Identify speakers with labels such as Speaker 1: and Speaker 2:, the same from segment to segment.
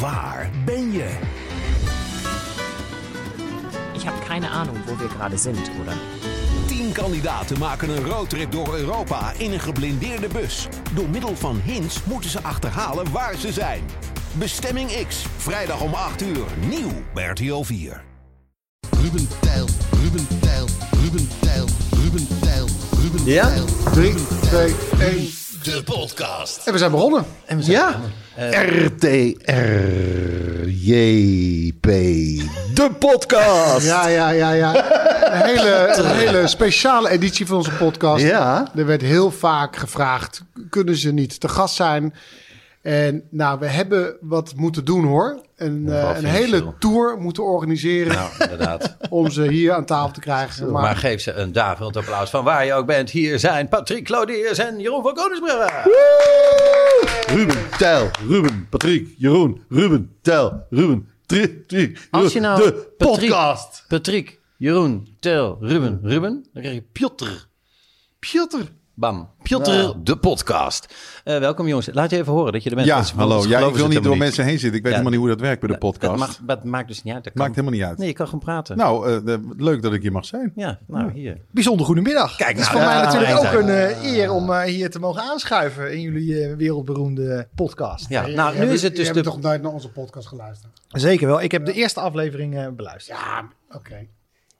Speaker 1: Waar ben je?
Speaker 2: Ich habe keine Ahnung, wo wir gerade sind, oder?
Speaker 1: Tien kandidaten maken een roadtrip door Europa in een geblindeerde bus. Door middel van hints moeten ze achterhalen waar ze zijn. Bestemming X, vrijdag om 8 uur, nieuw bij RTL 4.
Speaker 3: Ruben Tijl, Ruben Tijl, Ruben Tijl, Ruben Tijl, Ruben
Speaker 4: Ja?
Speaker 3: Tijl.
Speaker 4: 3, 2, 1.
Speaker 1: De podcast.
Speaker 4: En we zijn begonnen.
Speaker 5: En we zijn
Speaker 4: Ja.
Speaker 6: Eh,
Speaker 3: RTRJP, de podcast.
Speaker 4: Ja, ja, ja, ja. Een hele, een hele speciale editie van onze podcast.
Speaker 3: Ja.
Speaker 4: Er werd heel vaak gevraagd, kunnen ze niet te gast zijn? En nou, we hebben wat moeten doen hoor. Een, eh, een hele tour moeten organiseren
Speaker 5: Nou, inderdaad.
Speaker 4: om ze hier aan tafel te krijgen. Maar,
Speaker 5: Maar geef ze een daverend applaus van waar je ook bent. Hier zijn Patrick Claudiers en Jeroen van Koningsbrugge.
Speaker 3: Ruben Tijl, Ruben, Patrick, Jeroen, Ruben Tijl, Ruben, Tri, Tri,
Speaker 2: Als je nou
Speaker 3: de
Speaker 2: Patrick-
Speaker 3: podcast.
Speaker 5: Patrick, Jeroen, Tel, Ruben, Ruben. Dan krijg je Piotr.
Speaker 3: Pieter.
Speaker 5: Bam. Piotr, de podcast. Eh, welkom jongens. Laat je even horen dat je er bent.
Speaker 6: Ja,
Speaker 5: Want ze- ze
Speaker 6: hallo. Ja, ik
Speaker 5: geloven
Speaker 6: wil
Speaker 5: het
Speaker 6: niet door
Speaker 5: helemaal
Speaker 6: mensen heen zitten. Ik weet
Speaker 5: Ja.
Speaker 6: helemaal niet hoe dat werkt bij de
Speaker 5: Dat- dat
Speaker 6: podcast.
Speaker 5: mag- dat maakt dus niet uit. Dat
Speaker 6: Maakt
Speaker 5: kan-
Speaker 6: helemaal niet uit.
Speaker 5: Nee, je kan gewoon praten.
Speaker 6: Nou, eh, de- leuk dat ik hier mag zijn.
Speaker 5: Ja, nou hier.
Speaker 7: Bijzonder goedemiddag. Kijk, het is
Speaker 5: nou,
Speaker 7: voor mij
Speaker 5: ja,
Speaker 7: natuurlijk
Speaker 5: nou,
Speaker 7: ook een
Speaker 5: nou,
Speaker 7: eh, eer om eh, hier te mogen aanschuiven in jullie eh, wereldberoemde podcast.
Speaker 5: Ja, nou, nu
Speaker 4: Jij
Speaker 5: is het
Speaker 4: hebt-
Speaker 5: dus
Speaker 4: jij hebt
Speaker 5: de...
Speaker 4: toch nooit naar onze podcast geluisterd?
Speaker 7: Zeker wel. Ik heb de eerste aflevering eh, beluisterd.
Speaker 4: Ja, oké.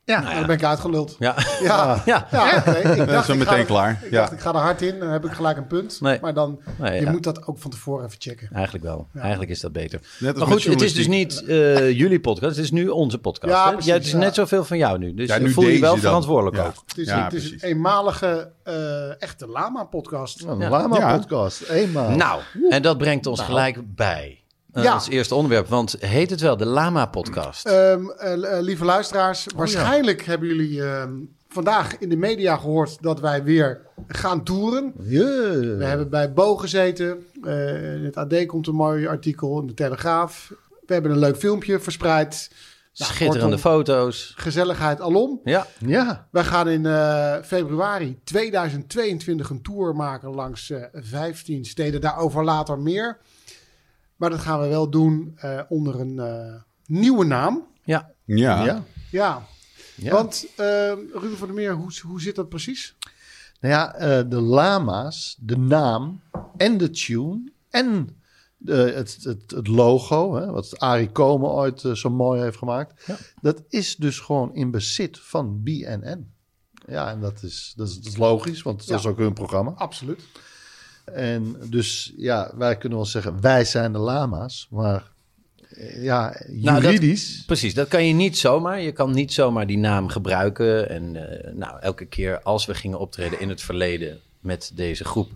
Speaker 7: Ja.
Speaker 4: Nou, dan ben ik uitgeluld.
Speaker 5: Ja,
Speaker 4: Ja,
Speaker 5: Ja.
Speaker 4: ja. oké. Ik
Speaker 6: Dat
Speaker 4: dacht,
Speaker 6: is dan
Speaker 4: ik ga
Speaker 6: meteen
Speaker 4: er-
Speaker 6: klaar.
Speaker 4: Ik
Speaker 6: Ja.
Speaker 4: dacht, ik ga er hard in, dan heb ik gelijk een punt.
Speaker 5: Nee.
Speaker 4: Maar dan,
Speaker 5: Nee,
Speaker 4: je
Speaker 5: ja.
Speaker 4: moet dat ook van tevoren even checken.
Speaker 5: eigenlijk wel. Eigenlijk is dat beter.
Speaker 6: met
Speaker 5: Maar goed, het is dus
Speaker 6: journalistiek.
Speaker 5: niet eh, jullie podcast. Het is nu onze podcast.
Speaker 4: Ja,
Speaker 5: hè?
Speaker 4: precies,
Speaker 5: het is
Speaker 4: ja.
Speaker 5: net zoveel van jou nu. Dus
Speaker 6: Ja,
Speaker 5: je voel je
Speaker 6: deze
Speaker 5: wel
Speaker 6: dan.
Speaker 5: verantwoordelijk
Speaker 6: Ja.
Speaker 5: ook.
Speaker 4: Het is,
Speaker 6: Ja,
Speaker 4: het is een
Speaker 6: precies.
Speaker 4: eenmalige, eh, echte lama-podcast.
Speaker 3: Een lama
Speaker 6: Ja.
Speaker 3: podcast, eenmaal.
Speaker 5: Nou, en dat brengt ons gelijk bij eh,
Speaker 4: Ja.
Speaker 5: ons eerste onderwerp. Want heet het wel de Lama-podcast?
Speaker 4: Ehm, eh, eh, lieve
Speaker 5: Oh,
Speaker 4: luisteraars, waarschijnlijk hebben jullie ehm, vandaag in de media gehoord dat wij weer gaan toeren.
Speaker 3: Yeah.
Speaker 4: We hebben bij Bo gezeten. Eh, in het AD komt een mooi artikel, in de Telegraaf. We hebben een leuk filmpje verspreid. Nou,
Speaker 5: Schitterende
Speaker 4: kortom,
Speaker 5: foto's.
Speaker 4: Gezelligheid alom.
Speaker 5: Ja,
Speaker 3: Ja,
Speaker 4: Wij gaan in eh, februari 2022 een tour maken langs eh 15 steden. Daarover later meer. Maar dat gaan we wel doen eh, onder een eh, nieuwe naam.
Speaker 5: ja.
Speaker 6: Ja.
Speaker 3: ja.
Speaker 4: Ja,
Speaker 3: Ja.
Speaker 4: want eh Ruben van der Meer, hoe, hoe zit dat precies?
Speaker 3: Nou ja, eh, de lama's, de naam en de tune en eh, het, het, het logo, hè, wat Arie Komen ooit eh, zo mooi heeft gemaakt. Dat is dus gewoon in bezit van BNN. Ja, en dat is, dat is, dat is logisch, want dat is ook hun programma.
Speaker 4: Absoluut.
Speaker 3: En dus ja, wij kunnen wel zeggen, wij zijn de lama's, maar eh, ja,
Speaker 5: Nou, dat-
Speaker 3: juridisch...
Speaker 5: Precies, dat kan je niet zomaar. Je kan niet zomaar die naam gebruiken. En eh, nou, elke keer als we gingen optreden in het verleden met deze groep,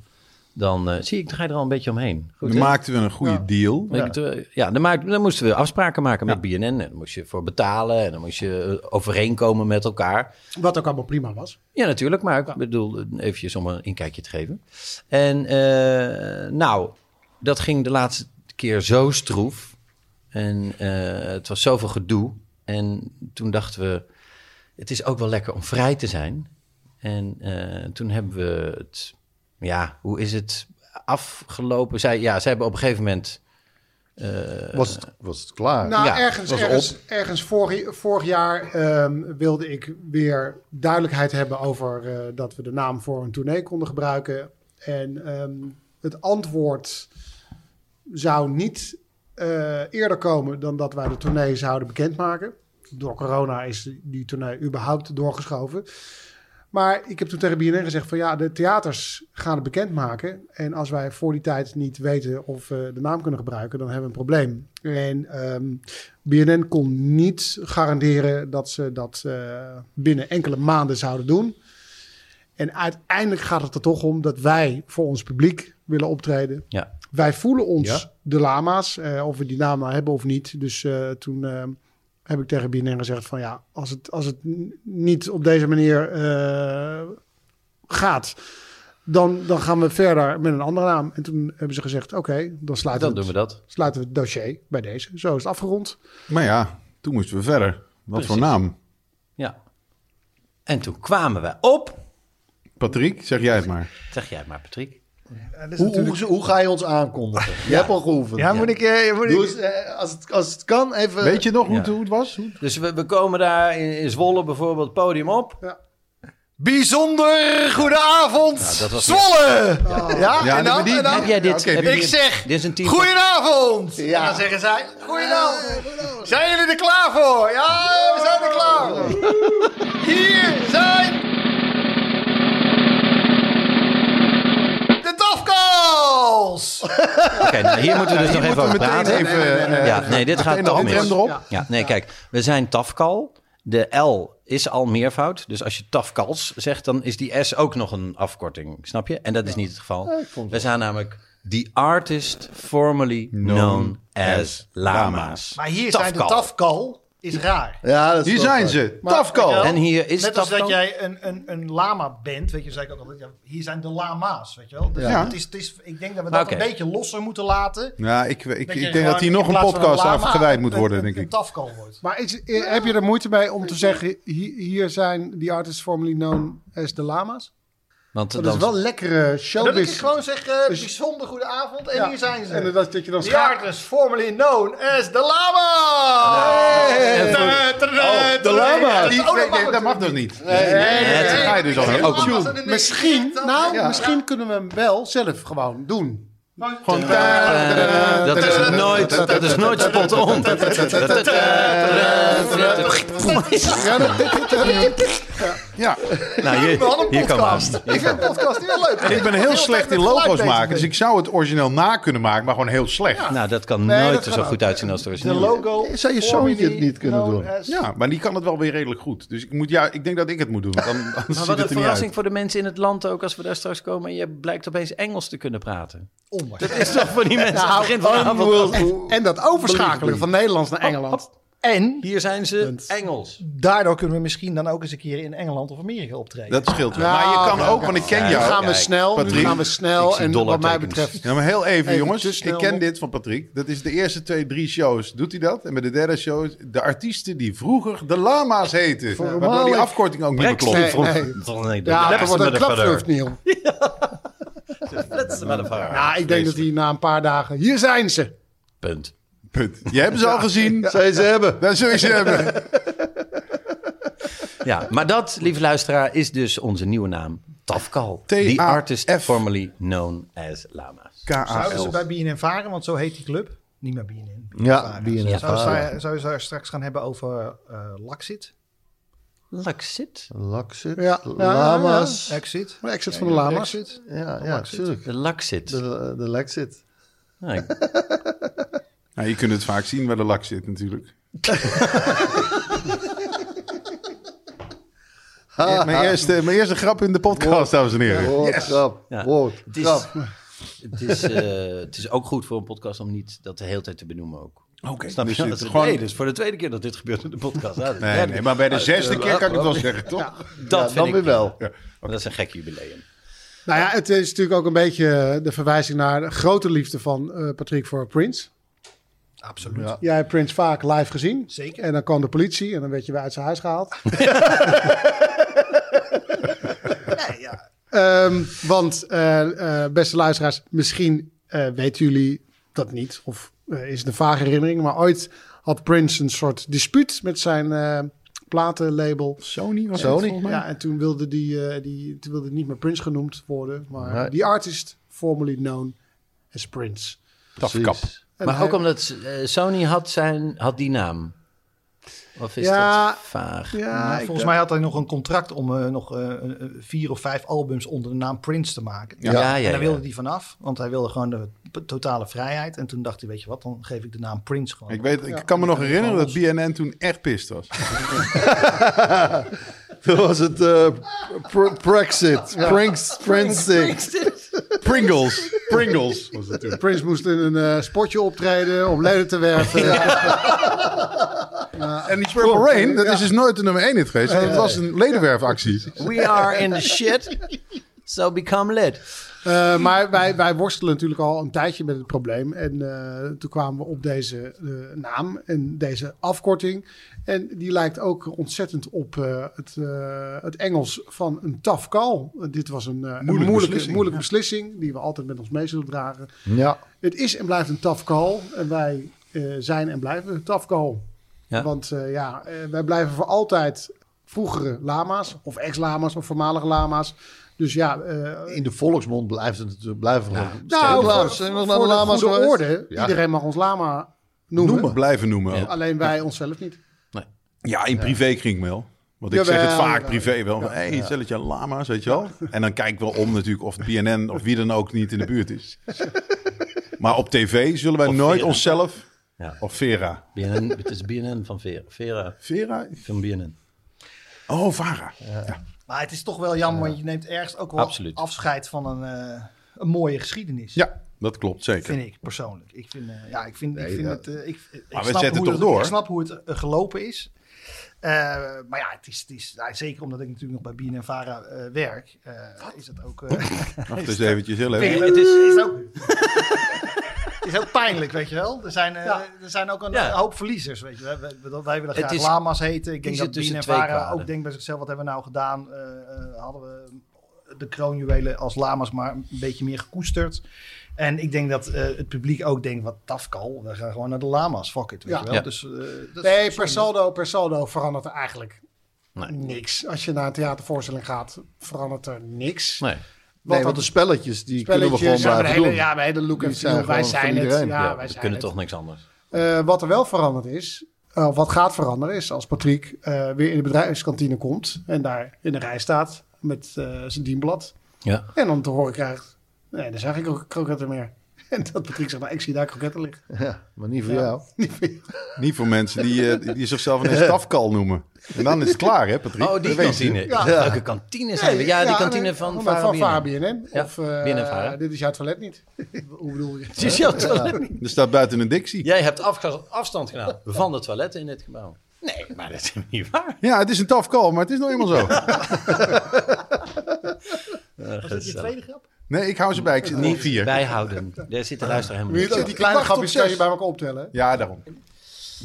Speaker 5: dan eh, zie ik, draai er al een beetje omheen. Goed,
Speaker 6: Dan
Speaker 5: hè?
Speaker 6: maakten we een goede deal.
Speaker 5: Ik- eh, ja, dan, maak- dan moesten we afspraken maken met BNN. En daar moest je voor betalen en dan moest je eh, overeenkomen met elkaar.
Speaker 4: Wat ook allemaal prima was.
Speaker 5: Ja, natuurlijk, maar ik bedoel, eh, eventjes om een inkijkje te geven. En eh, nou, dat ging de laatste keer zo stroef. En eh, het was zoveel gedoe. En toen dachten we, het is ook wel lekker om vrij te zijn. En eh, toen hebben we het, ja, hoe is het afgelopen? Zij, ja, zij hebben op een gegeven moment...
Speaker 7: Eh,
Speaker 3: was, het, was het klaar?
Speaker 4: nou,
Speaker 5: ja,
Speaker 4: ergens,
Speaker 3: was
Speaker 4: ergens, ergens vorig, vorig jaar ehm, wilde ik weer duidelijkheid hebben over eh, dat we de naam voor een tournee konden gebruiken. En ehm, het antwoord zou niet eh, eerder komen dan dat wij de tournee zouden bekendmaken. Door corona is die tournee überhaupt doorgeschoven. Maar ik heb toen tegen BNN gezegd van ja, de theaters gaan het bekendmaken. En als wij voor die tijd niet weten of we de naam kunnen gebruiken, dan hebben we een probleem. En ehm, BNN kon niet garanderen dat ze dat eh, binnen enkele maanden zouden doen. En uiteindelijk gaat het er toch om dat wij voor ons publiek willen optreden.
Speaker 5: Ja.
Speaker 4: Wij voelen ons
Speaker 5: Ja.
Speaker 4: de lama's, eh, of we die naam nou hebben of niet. Dus eh, toen eh, heb ik tegen BNR gezegd van ja, als het, als het n- niet op deze manier eh, gaat, dan, dan gaan we verder met een andere naam. En toen hebben ze gezegd, oké, dan sluiten,
Speaker 5: Dan
Speaker 4: we
Speaker 5: doen
Speaker 4: het,
Speaker 5: we dat.
Speaker 4: sluiten we het dossier bij deze. Zo is het afgerond.
Speaker 6: Maar ja, toen moesten we verder. Wat voor naam?
Speaker 5: Ja. En toen kwamen we op.
Speaker 6: Patrick, zeg jij het maar.
Speaker 5: Zeg jij maar, Patrick.
Speaker 7: Dat is
Speaker 3: Hoe,
Speaker 7: natuurlijk-
Speaker 3: hoe, hoe ga je ons aankondigen? Je hebt al geoefend.
Speaker 7: ja, moet ik... eh, moet
Speaker 3: Doe
Speaker 7: ik...
Speaker 3: eens, eh, als, het, als het kan, even...
Speaker 6: Weet je nog hoe,
Speaker 5: Ja.
Speaker 6: het, hoe het was? Hoe-
Speaker 5: Dus we, we komen daar in, in Zwolle bijvoorbeeld podium op.
Speaker 7: Bijzonder goedenavond,
Speaker 5: Nou, dat was-
Speaker 7: Zwolle! Ja,
Speaker 6: Ja,
Speaker 7: en dan?
Speaker 6: maar die-
Speaker 7: en dan?
Speaker 5: Heb jij dit?
Speaker 6: oké,
Speaker 5: heb je
Speaker 7: ik
Speaker 5: dit-
Speaker 7: zeg,
Speaker 5: Dit is een team.
Speaker 7: Goedenavond!
Speaker 3: Ja.
Speaker 7: En dan zeggen zij,
Speaker 4: Eh,
Speaker 7: goedenavond. Zijn jullie er klaar voor? Ja, we zijn er klaar voor. Hier zijn... De Dafkals!
Speaker 5: Oké, nou, hier moeten we dus nog even over
Speaker 6: meteen
Speaker 5: praten.
Speaker 6: even, eh,
Speaker 5: ja, nee, dit gaat
Speaker 6: meteen nog
Speaker 5: toch
Speaker 6: een
Speaker 5: mis.
Speaker 6: rem erop.
Speaker 5: Ja, nee, kijk, we zijn tafkal. De L is al meervoud. Dus als je tafkals zegt, dan is die S ook nog een afkorting. Snap je? En dat is niet het geval. we zijn namelijk the artist formerly known as Lama's.
Speaker 7: Maar hier zijn de
Speaker 5: Tafkal.
Speaker 7: Tafkal, is raar.
Speaker 3: Ja, dat is
Speaker 6: Hier
Speaker 3: wel
Speaker 6: zijn
Speaker 3: waar.
Speaker 6: ze. Tafkal.
Speaker 5: Oh, En hier is
Speaker 7: Net als
Speaker 5: tafkal.
Speaker 7: dat jij een, een, een lama bent, weet je, zei ik ook altijd, ja, hier zijn de lama's, weet je wel. Dus
Speaker 6: Ja.
Speaker 7: het is, het is, ik denk dat we dat
Speaker 5: Oké.
Speaker 7: een beetje losser moeten laten.
Speaker 6: Ja, ik, ik, ik,
Speaker 7: je
Speaker 6: denk
Speaker 7: gewoon
Speaker 6: dat hier
Speaker 7: in
Speaker 6: nog een
Speaker 7: plaats van
Speaker 6: podcast
Speaker 7: lama
Speaker 6: afgeweid moet
Speaker 7: een-
Speaker 6: worden,
Speaker 7: een-
Speaker 6: denk
Speaker 7: Een
Speaker 6: ik.
Speaker 7: tafkal wordt.
Speaker 4: Maar is, eh, heb je er moeite mee om te zeggen, hi- hier zijn die artists formerly known as de lama's?
Speaker 5: Want
Speaker 4: Dat
Speaker 5: dan,
Speaker 4: is wel lekkere
Speaker 7: Dat ik
Speaker 4: showbiz.
Speaker 7: gewoon zeg, eh bijzonder goede avond en
Speaker 4: Ja.
Speaker 7: hier zijn ze.
Speaker 4: En dat, dat je dan
Speaker 7: The
Speaker 4: schaart.
Speaker 7: artist formerly known as The
Speaker 3: nou,
Speaker 7: Lama!
Speaker 5: en voor-
Speaker 7: Oh,
Speaker 3: Oh,
Speaker 7: De
Speaker 6: Ja, die-
Speaker 7: Oh,
Speaker 6: nee, dat
Speaker 7: dat mag natuurlijk
Speaker 6: mag
Speaker 7: niet.
Speaker 6: toch niet? Nee, nee, nee,
Speaker 5: nee.
Speaker 6: dat ga je dus al.
Speaker 7: Lama's
Speaker 6: Ook
Speaker 7: hadden niks
Speaker 4: Misschien,
Speaker 7: gezegd,
Speaker 4: nou,
Speaker 7: ja.
Speaker 4: misschien kunnen we hem wel zelf gewoon doen.
Speaker 6: gewoon daar.
Speaker 5: Eh, dat is nooit, dat is nooit spot on.
Speaker 6: Ja,
Speaker 5: Nou, hier, hier kan maar.
Speaker 7: Ik vind de podcast heel leuk.
Speaker 6: ik ben heel slecht in logo's maken, dus ik zou het origineel na kunnen maken, maar gewoon heel slecht.
Speaker 5: Nou, dat kan nooit er zo goed uitzien als het
Speaker 7: De
Speaker 5: origineel.
Speaker 7: logo.
Speaker 3: Zou je zoontje het niet kunnen doen?
Speaker 6: Ja, maar die kan het wel weer redelijk goed. Dus ik, moet, ja, ik denk dat ik het moet doen, want dan, anders
Speaker 5: Maar
Speaker 6: ziet
Speaker 5: wat een
Speaker 6: het er niet
Speaker 5: verrassing
Speaker 6: uit.
Speaker 5: voor de mensen in het land ook als we daar straks komen. En je blijkt opeens Engels te kunnen praten. Dat is toch voor die mensen aan het begin van de avond.
Speaker 4: En dat overschakelen van Nederlands naar Engeland.
Speaker 7: En
Speaker 5: Hier zijn ze Engels.
Speaker 7: daardoor kunnen we misschien dan ook eens een keer in Engeland of Amerika optreden.
Speaker 6: Dat scheelt wel. Maar je kan ook, want ik ken
Speaker 4: Nu gaan
Speaker 6: jou.
Speaker 4: we snel, nu
Speaker 6: Patrick,
Speaker 4: gaan we
Speaker 5: ik
Speaker 4: snel.
Speaker 5: zie
Speaker 4: En wat mij
Speaker 5: dollartekens.
Speaker 4: betreft,
Speaker 6: Ja, maar heel even,
Speaker 4: Even te
Speaker 6: jongens.
Speaker 4: snel
Speaker 6: Ik ken
Speaker 4: nog.
Speaker 6: dit van Patrick. Dat is de eerste twee, drie shows. Doet hij dat? En bij de derde show is de artiesten die vroeger de lama's heten. Waardoor die afkorting ook niet meer klopt.
Speaker 5: Brexit.
Speaker 4: Nee,
Speaker 5: Nee, de
Speaker 4: ja, dat
Speaker 5: leukste
Speaker 4: wordt een klapvlucht,
Speaker 5: motherfucker.
Speaker 4: Neil.
Speaker 5: Leukste motherfucker.
Speaker 4: Nou, ik denk dat hij na een paar dagen, hier zijn ze.
Speaker 5: Punt.
Speaker 6: Punt. Je hebt ze al gezien.
Speaker 3: Zou je ze hebben?
Speaker 6: Dat zul je ze hebben.
Speaker 5: Ja, maar dat, lieve luisteraar, is dus onze nieuwe naam. Tafkal. The
Speaker 6: T.A.F..
Speaker 5: artist formerly known as Lama's.
Speaker 7: Zouden ze
Speaker 6: KAL.
Speaker 7: bij BNN varen, want zo heet die club. Niet meer BNN.
Speaker 3: Ja, die in het
Speaker 7: Zou
Speaker 3: haar.
Speaker 7: ze- zou je daar straks gaan hebben over eh Laxit?
Speaker 5: Laxit.
Speaker 3: Laksit,
Speaker 4: Ja.
Speaker 3: lama's.
Speaker 7: Exit?
Speaker 4: De exit van de lama's.
Speaker 7: Exit?
Speaker 3: Ja, ja, tuurlijk.
Speaker 5: De Laxit.
Speaker 3: De, de Lexit.
Speaker 5: Nou, ik-
Speaker 6: Nou, je kunt het vaak zien waar de lak zit natuurlijk. Ja, mijn, eerste, mijn eerste grap in de podcast, dames en heren.
Speaker 3: Woord, grap,
Speaker 5: Ja.
Speaker 3: woord,
Speaker 5: Het is-
Speaker 3: grap.
Speaker 5: Het is, eh, het is ook goed voor een podcast om niet dat de hele tijd te benoemen ook.
Speaker 6: Oké,
Speaker 5: Snap je?
Speaker 6: dus
Speaker 5: Dat
Speaker 6: het
Speaker 5: is
Speaker 6: gewoon-
Speaker 5: nee, dus voor de tweede keer dat dit gebeurt in de podcast. Ja, de
Speaker 6: Nee,
Speaker 5: derde
Speaker 6: nee,
Speaker 5: keer.
Speaker 6: maar bij de zesde keer kan ik het wel zeggen, toch?
Speaker 5: Dat
Speaker 3: Ah, eh, Ja,
Speaker 5: vind
Speaker 3: dan
Speaker 5: ik
Speaker 3: weer
Speaker 5: prima.
Speaker 3: wel.
Speaker 5: Want Dat is een gek jubileum.
Speaker 4: Nou ja, het is natuurlijk ook een beetje de verwijzing naar de grote liefde van eh, Patrick voor Prince.
Speaker 7: Absoluut.
Speaker 4: Jij hebt Prince vaak live gezien.
Speaker 7: Zeker.
Speaker 4: En dan kwam de politie en dan werd je weer uit zijn huis gehaald. Ehm, want, eh, eh, beste luisteraars, misschien eh, weten jullie dat niet. Of eh, is het een vage herinnering. Maar ooit had Prince een soort dispuut met zijn eh, platenlabel.
Speaker 6: Sony was
Speaker 3: Sony,
Speaker 6: het volgens mij.
Speaker 4: Ja, en toen wilde, die, eh, die, toen wilde het niet meer Prince genoemd worden. Maar
Speaker 3: Nee.
Speaker 4: die artist, formerly known as Prince.
Speaker 6: Tafkap.
Speaker 3: Precies.
Speaker 4: En
Speaker 5: maar
Speaker 4: hij-
Speaker 5: ook omdat eh, Sony had, zijn, had die naam. Of is
Speaker 4: Ja.
Speaker 5: dat vaag?
Speaker 4: Ja,
Speaker 7: Nou,
Speaker 4: ik-
Speaker 7: volgens mij
Speaker 6: eh,
Speaker 7: had hij nog een contract om eh, nog eh, eh, vier of vijf albums onder de naam Prince te maken.
Speaker 5: Ja, ja,
Speaker 7: en
Speaker 5: ja.
Speaker 7: daar wilde hij vanaf, want hij wilde gewoon de p- totale vrijheid. En toen dacht hij, weet je wat, dan geef ik de naam Prince gewoon.
Speaker 6: Ik, weet, ik kan me nog herinneren dat BNN toen echt pist was.
Speaker 3: Toen was het eh, pr- Brexit. Prince, Prince,
Speaker 6: Pringles. Pringles was het toen.
Speaker 4: Prince moest in een eh, sportje optreden om leden te werven.
Speaker 6: En die Purple Rain, dat is dus nooit de nummer 1 hit geweest. want Het was een ledenwerfactie.
Speaker 5: We are in the shit. So become lid.
Speaker 4: Eh, maar wij, wij worstelen natuurlijk al een tijdje met het probleem. En eh, toen kwamen we op deze eh, naam en deze afkorting. En die lijkt ook ontzettend op eh, het, eh, het Engels van een tough call. Eh, dit was een, eh, een moeilijke,
Speaker 6: beslissing.
Speaker 4: moeilijke beslissing die we altijd met ons mee zullen dragen.
Speaker 3: Ja.
Speaker 4: Het is en blijft een tough call. En wij eh, zijn en blijven een tough call.
Speaker 5: Ja.
Speaker 4: Want eh, ja, eh, wij blijven voor altijd vroegere lama's. Of ex-lama's of voormalige lama's. Dus ja, eh,
Speaker 3: In de volksmond blijft het natuurlijk blijven. gewoon-
Speaker 4: nou,
Speaker 3: Steeds
Speaker 4: voor,
Speaker 3: lama's. Zijn we nog
Speaker 4: voor
Speaker 3: naar de
Speaker 4: de
Speaker 3: lama's
Speaker 4: goede
Speaker 3: geweest?
Speaker 4: orde.
Speaker 3: Ja.
Speaker 4: Iedereen mag ons lama noemen.
Speaker 6: Blijven noemen. ook.
Speaker 4: Alleen wij onszelf niet.
Speaker 6: Ja, in privékring wel. Want ik
Speaker 4: Jawel,
Speaker 6: zeg het vaak
Speaker 4: jawel.
Speaker 6: privé wel. Hé, hey, stelletje lama's, weet je wel. En dan kijk ik wel om natuurlijk of BNN of wie dan ook niet in de buurt is. Maar op tv zullen wij nooit onszelf...
Speaker 5: Ja.
Speaker 6: Of Vera.
Speaker 5: BNN, het is BNN van Vera. Vera
Speaker 6: Vera?
Speaker 5: van BNN.
Speaker 6: Oh, Vera.
Speaker 7: Maar het is toch wel jammer, want je neemt ergens ook wel
Speaker 5: Absoluut.
Speaker 7: afscheid van een, eh, een mooie geschiedenis.
Speaker 6: Ja, dat klopt zeker.
Speaker 7: Vind ik persoonlijk. Ik vind, eh, ja, ik vind, ik vind het. eh, ik, ik
Speaker 6: Maar we
Speaker 7: snap
Speaker 6: zetten
Speaker 7: hoe
Speaker 6: toch
Speaker 7: het-
Speaker 6: door?
Speaker 7: Ik snap hoe het eh, gelopen is. Eh, maar ja, het is, het is, nou, zeker omdat ik natuurlijk nog bij BNN Vara eh, werk, eh, is het ook. eh,
Speaker 6: Wacht eens eventjes heel even.
Speaker 7: het, is,
Speaker 4: Eh.
Speaker 7: is ook het is ook pijnlijk, weet je wel. Er zijn, eh, er zijn ook een
Speaker 5: Ja.
Speaker 7: hoop verliezers, weet je wel. Wij, wij- wij willen
Speaker 5: Het
Speaker 7: graag
Speaker 5: is-
Speaker 7: lama's heten. Ik denk
Speaker 5: zit
Speaker 7: dat
Speaker 5: tussen
Speaker 7: Bien en
Speaker 5: twee
Speaker 7: Vara
Speaker 5: kwaden.
Speaker 7: ook denkt bij zichzelf, wat hebben we nou gedaan? Eh, eh, hadden we de kroonjuwelen als lama's maar een beetje meer gekoesterd? En ik denk dat eh, het publiek ook denkt, wat tafkal, we gaan gewoon naar de lama's, fuck it, weet
Speaker 4: Ja.
Speaker 7: je wel.
Speaker 5: Ja.
Speaker 7: Dus, eh, dat is-
Speaker 4: Nee, per saldo, per saldo verandert er eigenlijk
Speaker 5: Nee.
Speaker 4: niks. Als je naar een theatervoorstelling gaat, verandert er niks.
Speaker 5: Nee.
Speaker 3: Nee, want de spelletjes, die
Speaker 4: Spelletjes,
Speaker 3: kunnen we
Speaker 4: ja,
Speaker 3: gewoon
Speaker 4: maar de
Speaker 3: blijven
Speaker 4: hele,
Speaker 3: doen.
Speaker 4: ja, maar de hele look
Speaker 3: Die
Speaker 4: en
Speaker 3: zijn
Speaker 4: feel. Wij
Speaker 3: gewoon
Speaker 4: zijn
Speaker 3: voor
Speaker 4: het.
Speaker 3: iedereen.
Speaker 4: Ja,
Speaker 3: Ja,
Speaker 4: wij
Speaker 5: We
Speaker 4: zijn
Speaker 5: kunnen
Speaker 4: het.
Speaker 5: toch niks anders.
Speaker 4: Eh, wat er wel veranderd is, eh, wat gaat veranderen, is als Patrick eh, weer in de bedrijfskantine komt en daar in de rij staat met eh, zijn dienblad.
Speaker 5: Ja.
Speaker 4: En dan te horen krijgt, nee, daar zijn geen kro- kroketten meer. En dat Patrick zegt, nou, ik zie daar kroketten liggen.
Speaker 3: Ja, maar niet voor jou.
Speaker 6: Niet voor mensen die, eh, die zichzelf een stafkal noemen. En dan is het klaar, hè Patrick?
Speaker 5: Oh, die
Speaker 6: Dat weet je.
Speaker 5: kantine. Welke kantine zijn we? Ja, die kantine
Speaker 4: nee, Oh,
Speaker 5: van,
Speaker 4: van, van
Speaker 5: Vara BNN.
Speaker 4: Fabian.
Speaker 5: Ja,
Speaker 4: Of eh,
Speaker 5: BNN Vara.
Speaker 4: dit is jouw toilet niet. Hoe bedoel je?
Speaker 5: Het is jouw toilet.
Speaker 6: Er staat buiten een dictie. Ja.
Speaker 5: Jij hebt afge- afstand gedaan van de toiletten in dit gebouw. Nee, maar dat is niet waar.
Speaker 6: het is een tafkal, maar het is nou eenmaal zo.
Speaker 7: was dat je tweede grap?
Speaker 6: Nee, ik hou ze bij. Ik zit niet vier.
Speaker 5: bijhouden. Daar zit de luisteraar helemaal
Speaker 4: Weet
Speaker 5: niet.
Speaker 4: je, Die kleine
Speaker 6: Ik wacht
Speaker 4: grapjes
Speaker 6: op
Speaker 4: kan
Speaker 6: zes.
Speaker 4: je bij elkaar optellen.
Speaker 6: Ja, daarom.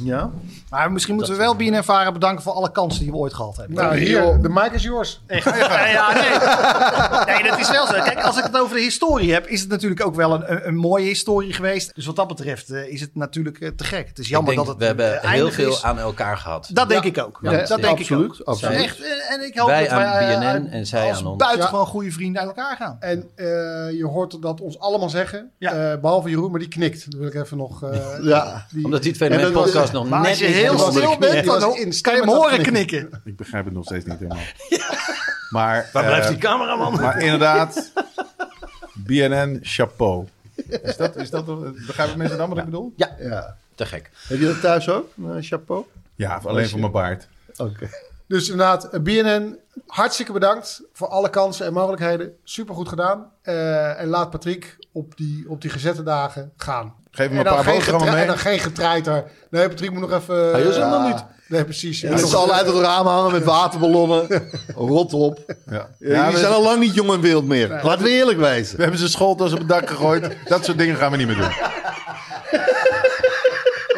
Speaker 3: Ja?
Speaker 7: Maar misschien moeten we wel BNN Vara bedanken voor alle kansen die we ooit gehad hebben.
Speaker 4: Nou, hier, de mic is yours.
Speaker 7: Echt. Ja, ja, nee. nee, dat is wel zo. Kijk, als ik het over de historie heb, is het natuurlijk ook wel een, een, een mooie historie geweest. Dus wat dat betreft eh, is het natuurlijk eh, te gek. Het is jammer
Speaker 5: ik denk,
Speaker 7: dat het
Speaker 5: we hebben
Speaker 7: eh,
Speaker 5: heel
Speaker 7: eindig
Speaker 5: veel
Speaker 7: is.
Speaker 5: aan elkaar gehad.
Speaker 7: Dat denk ik ook.
Speaker 3: Ja,
Speaker 7: dat denk ik
Speaker 3: absoluut,
Speaker 7: ook.
Speaker 3: absoluut.
Speaker 7: Echt, eh, en ik hoop
Speaker 5: Wij
Speaker 7: dat
Speaker 5: aan
Speaker 7: wij eh,
Speaker 5: BNN
Speaker 7: uit-
Speaker 5: en zij
Speaker 7: als
Speaker 5: aan ons.
Speaker 7: buitengewoon goede vrienden uit elkaar gaan.
Speaker 4: En eh, je hoort dat ons allemaal zeggen.
Speaker 7: Ja.
Speaker 4: eh, behalve Jeroen, maar die knikt. Dat wil ik even nog... eh,
Speaker 3: Ja.
Speaker 4: die-
Speaker 5: Omdat die twee
Speaker 4: En
Speaker 5: met
Speaker 4: dat was-
Speaker 5: podcast nog
Speaker 7: Maar
Speaker 5: net
Speaker 7: als je
Speaker 5: niet
Speaker 7: heel
Speaker 5: helemaal onder de
Speaker 7: stil
Speaker 5: knie
Speaker 7: bent,
Speaker 4: was
Speaker 7: dan ho-
Speaker 4: in
Speaker 7: kan je hem
Speaker 4: met dat
Speaker 7: horen
Speaker 4: knikken.
Speaker 7: knikken.
Speaker 6: Ik begrijp het nog steeds niet helemaal. Maar,
Speaker 5: Waar blijft
Speaker 6: eh,
Speaker 5: die cameraman?
Speaker 6: Maar inderdaad, BNN chapeau. Is dat, is dat, begrijpen mensen dan wat ik bedoel?
Speaker 5: Ja,
Speaker 3: ja.
Speaker 5: te gek.
Speaker 3: Heb je dat thuis ook? Een chapeau?
Speaker 6: Ja, alleen voor mijn baard.
Speaker 3: Oké.
Speaker 4: Dus inderdaad, eh, BNN, hartstikke bedankt voor alle kansen en mogelijkheden. Supergoed gedaan. Eh, en laat Patrick op die, op die gezette dagen gaan.
Speaker 6: Geef hem
Speaker 4: en
Speaker 6: een
Speaker 4: dan
Speaker 6: paar
Speaker 4: geen
Speaker 6: boterhammen
Speaker 4: getre-
Speaker 6: mee.
Speaker 4: En dan geen getreiter. Nee, Patrick moet nog even... Hij
Speaker 3: is er nog niet.
Speaker 4: Nee, precies.
Speaker 3: En ze al uit het raam hangen met waterballonnen. Rot op.
Speaker 6: Ja.
Speaker 3: Eh,
Speaker 6: Ja,
Speaker 3: die
Speaker 6: we,
Speaker 3: zijn al lang niet jong en wild meer. Laten we eerlijk wezen.
Speaker 6: we hebben zijn schooltas op het dak gegooid. Dat soort dingen gaan we niet meer doen.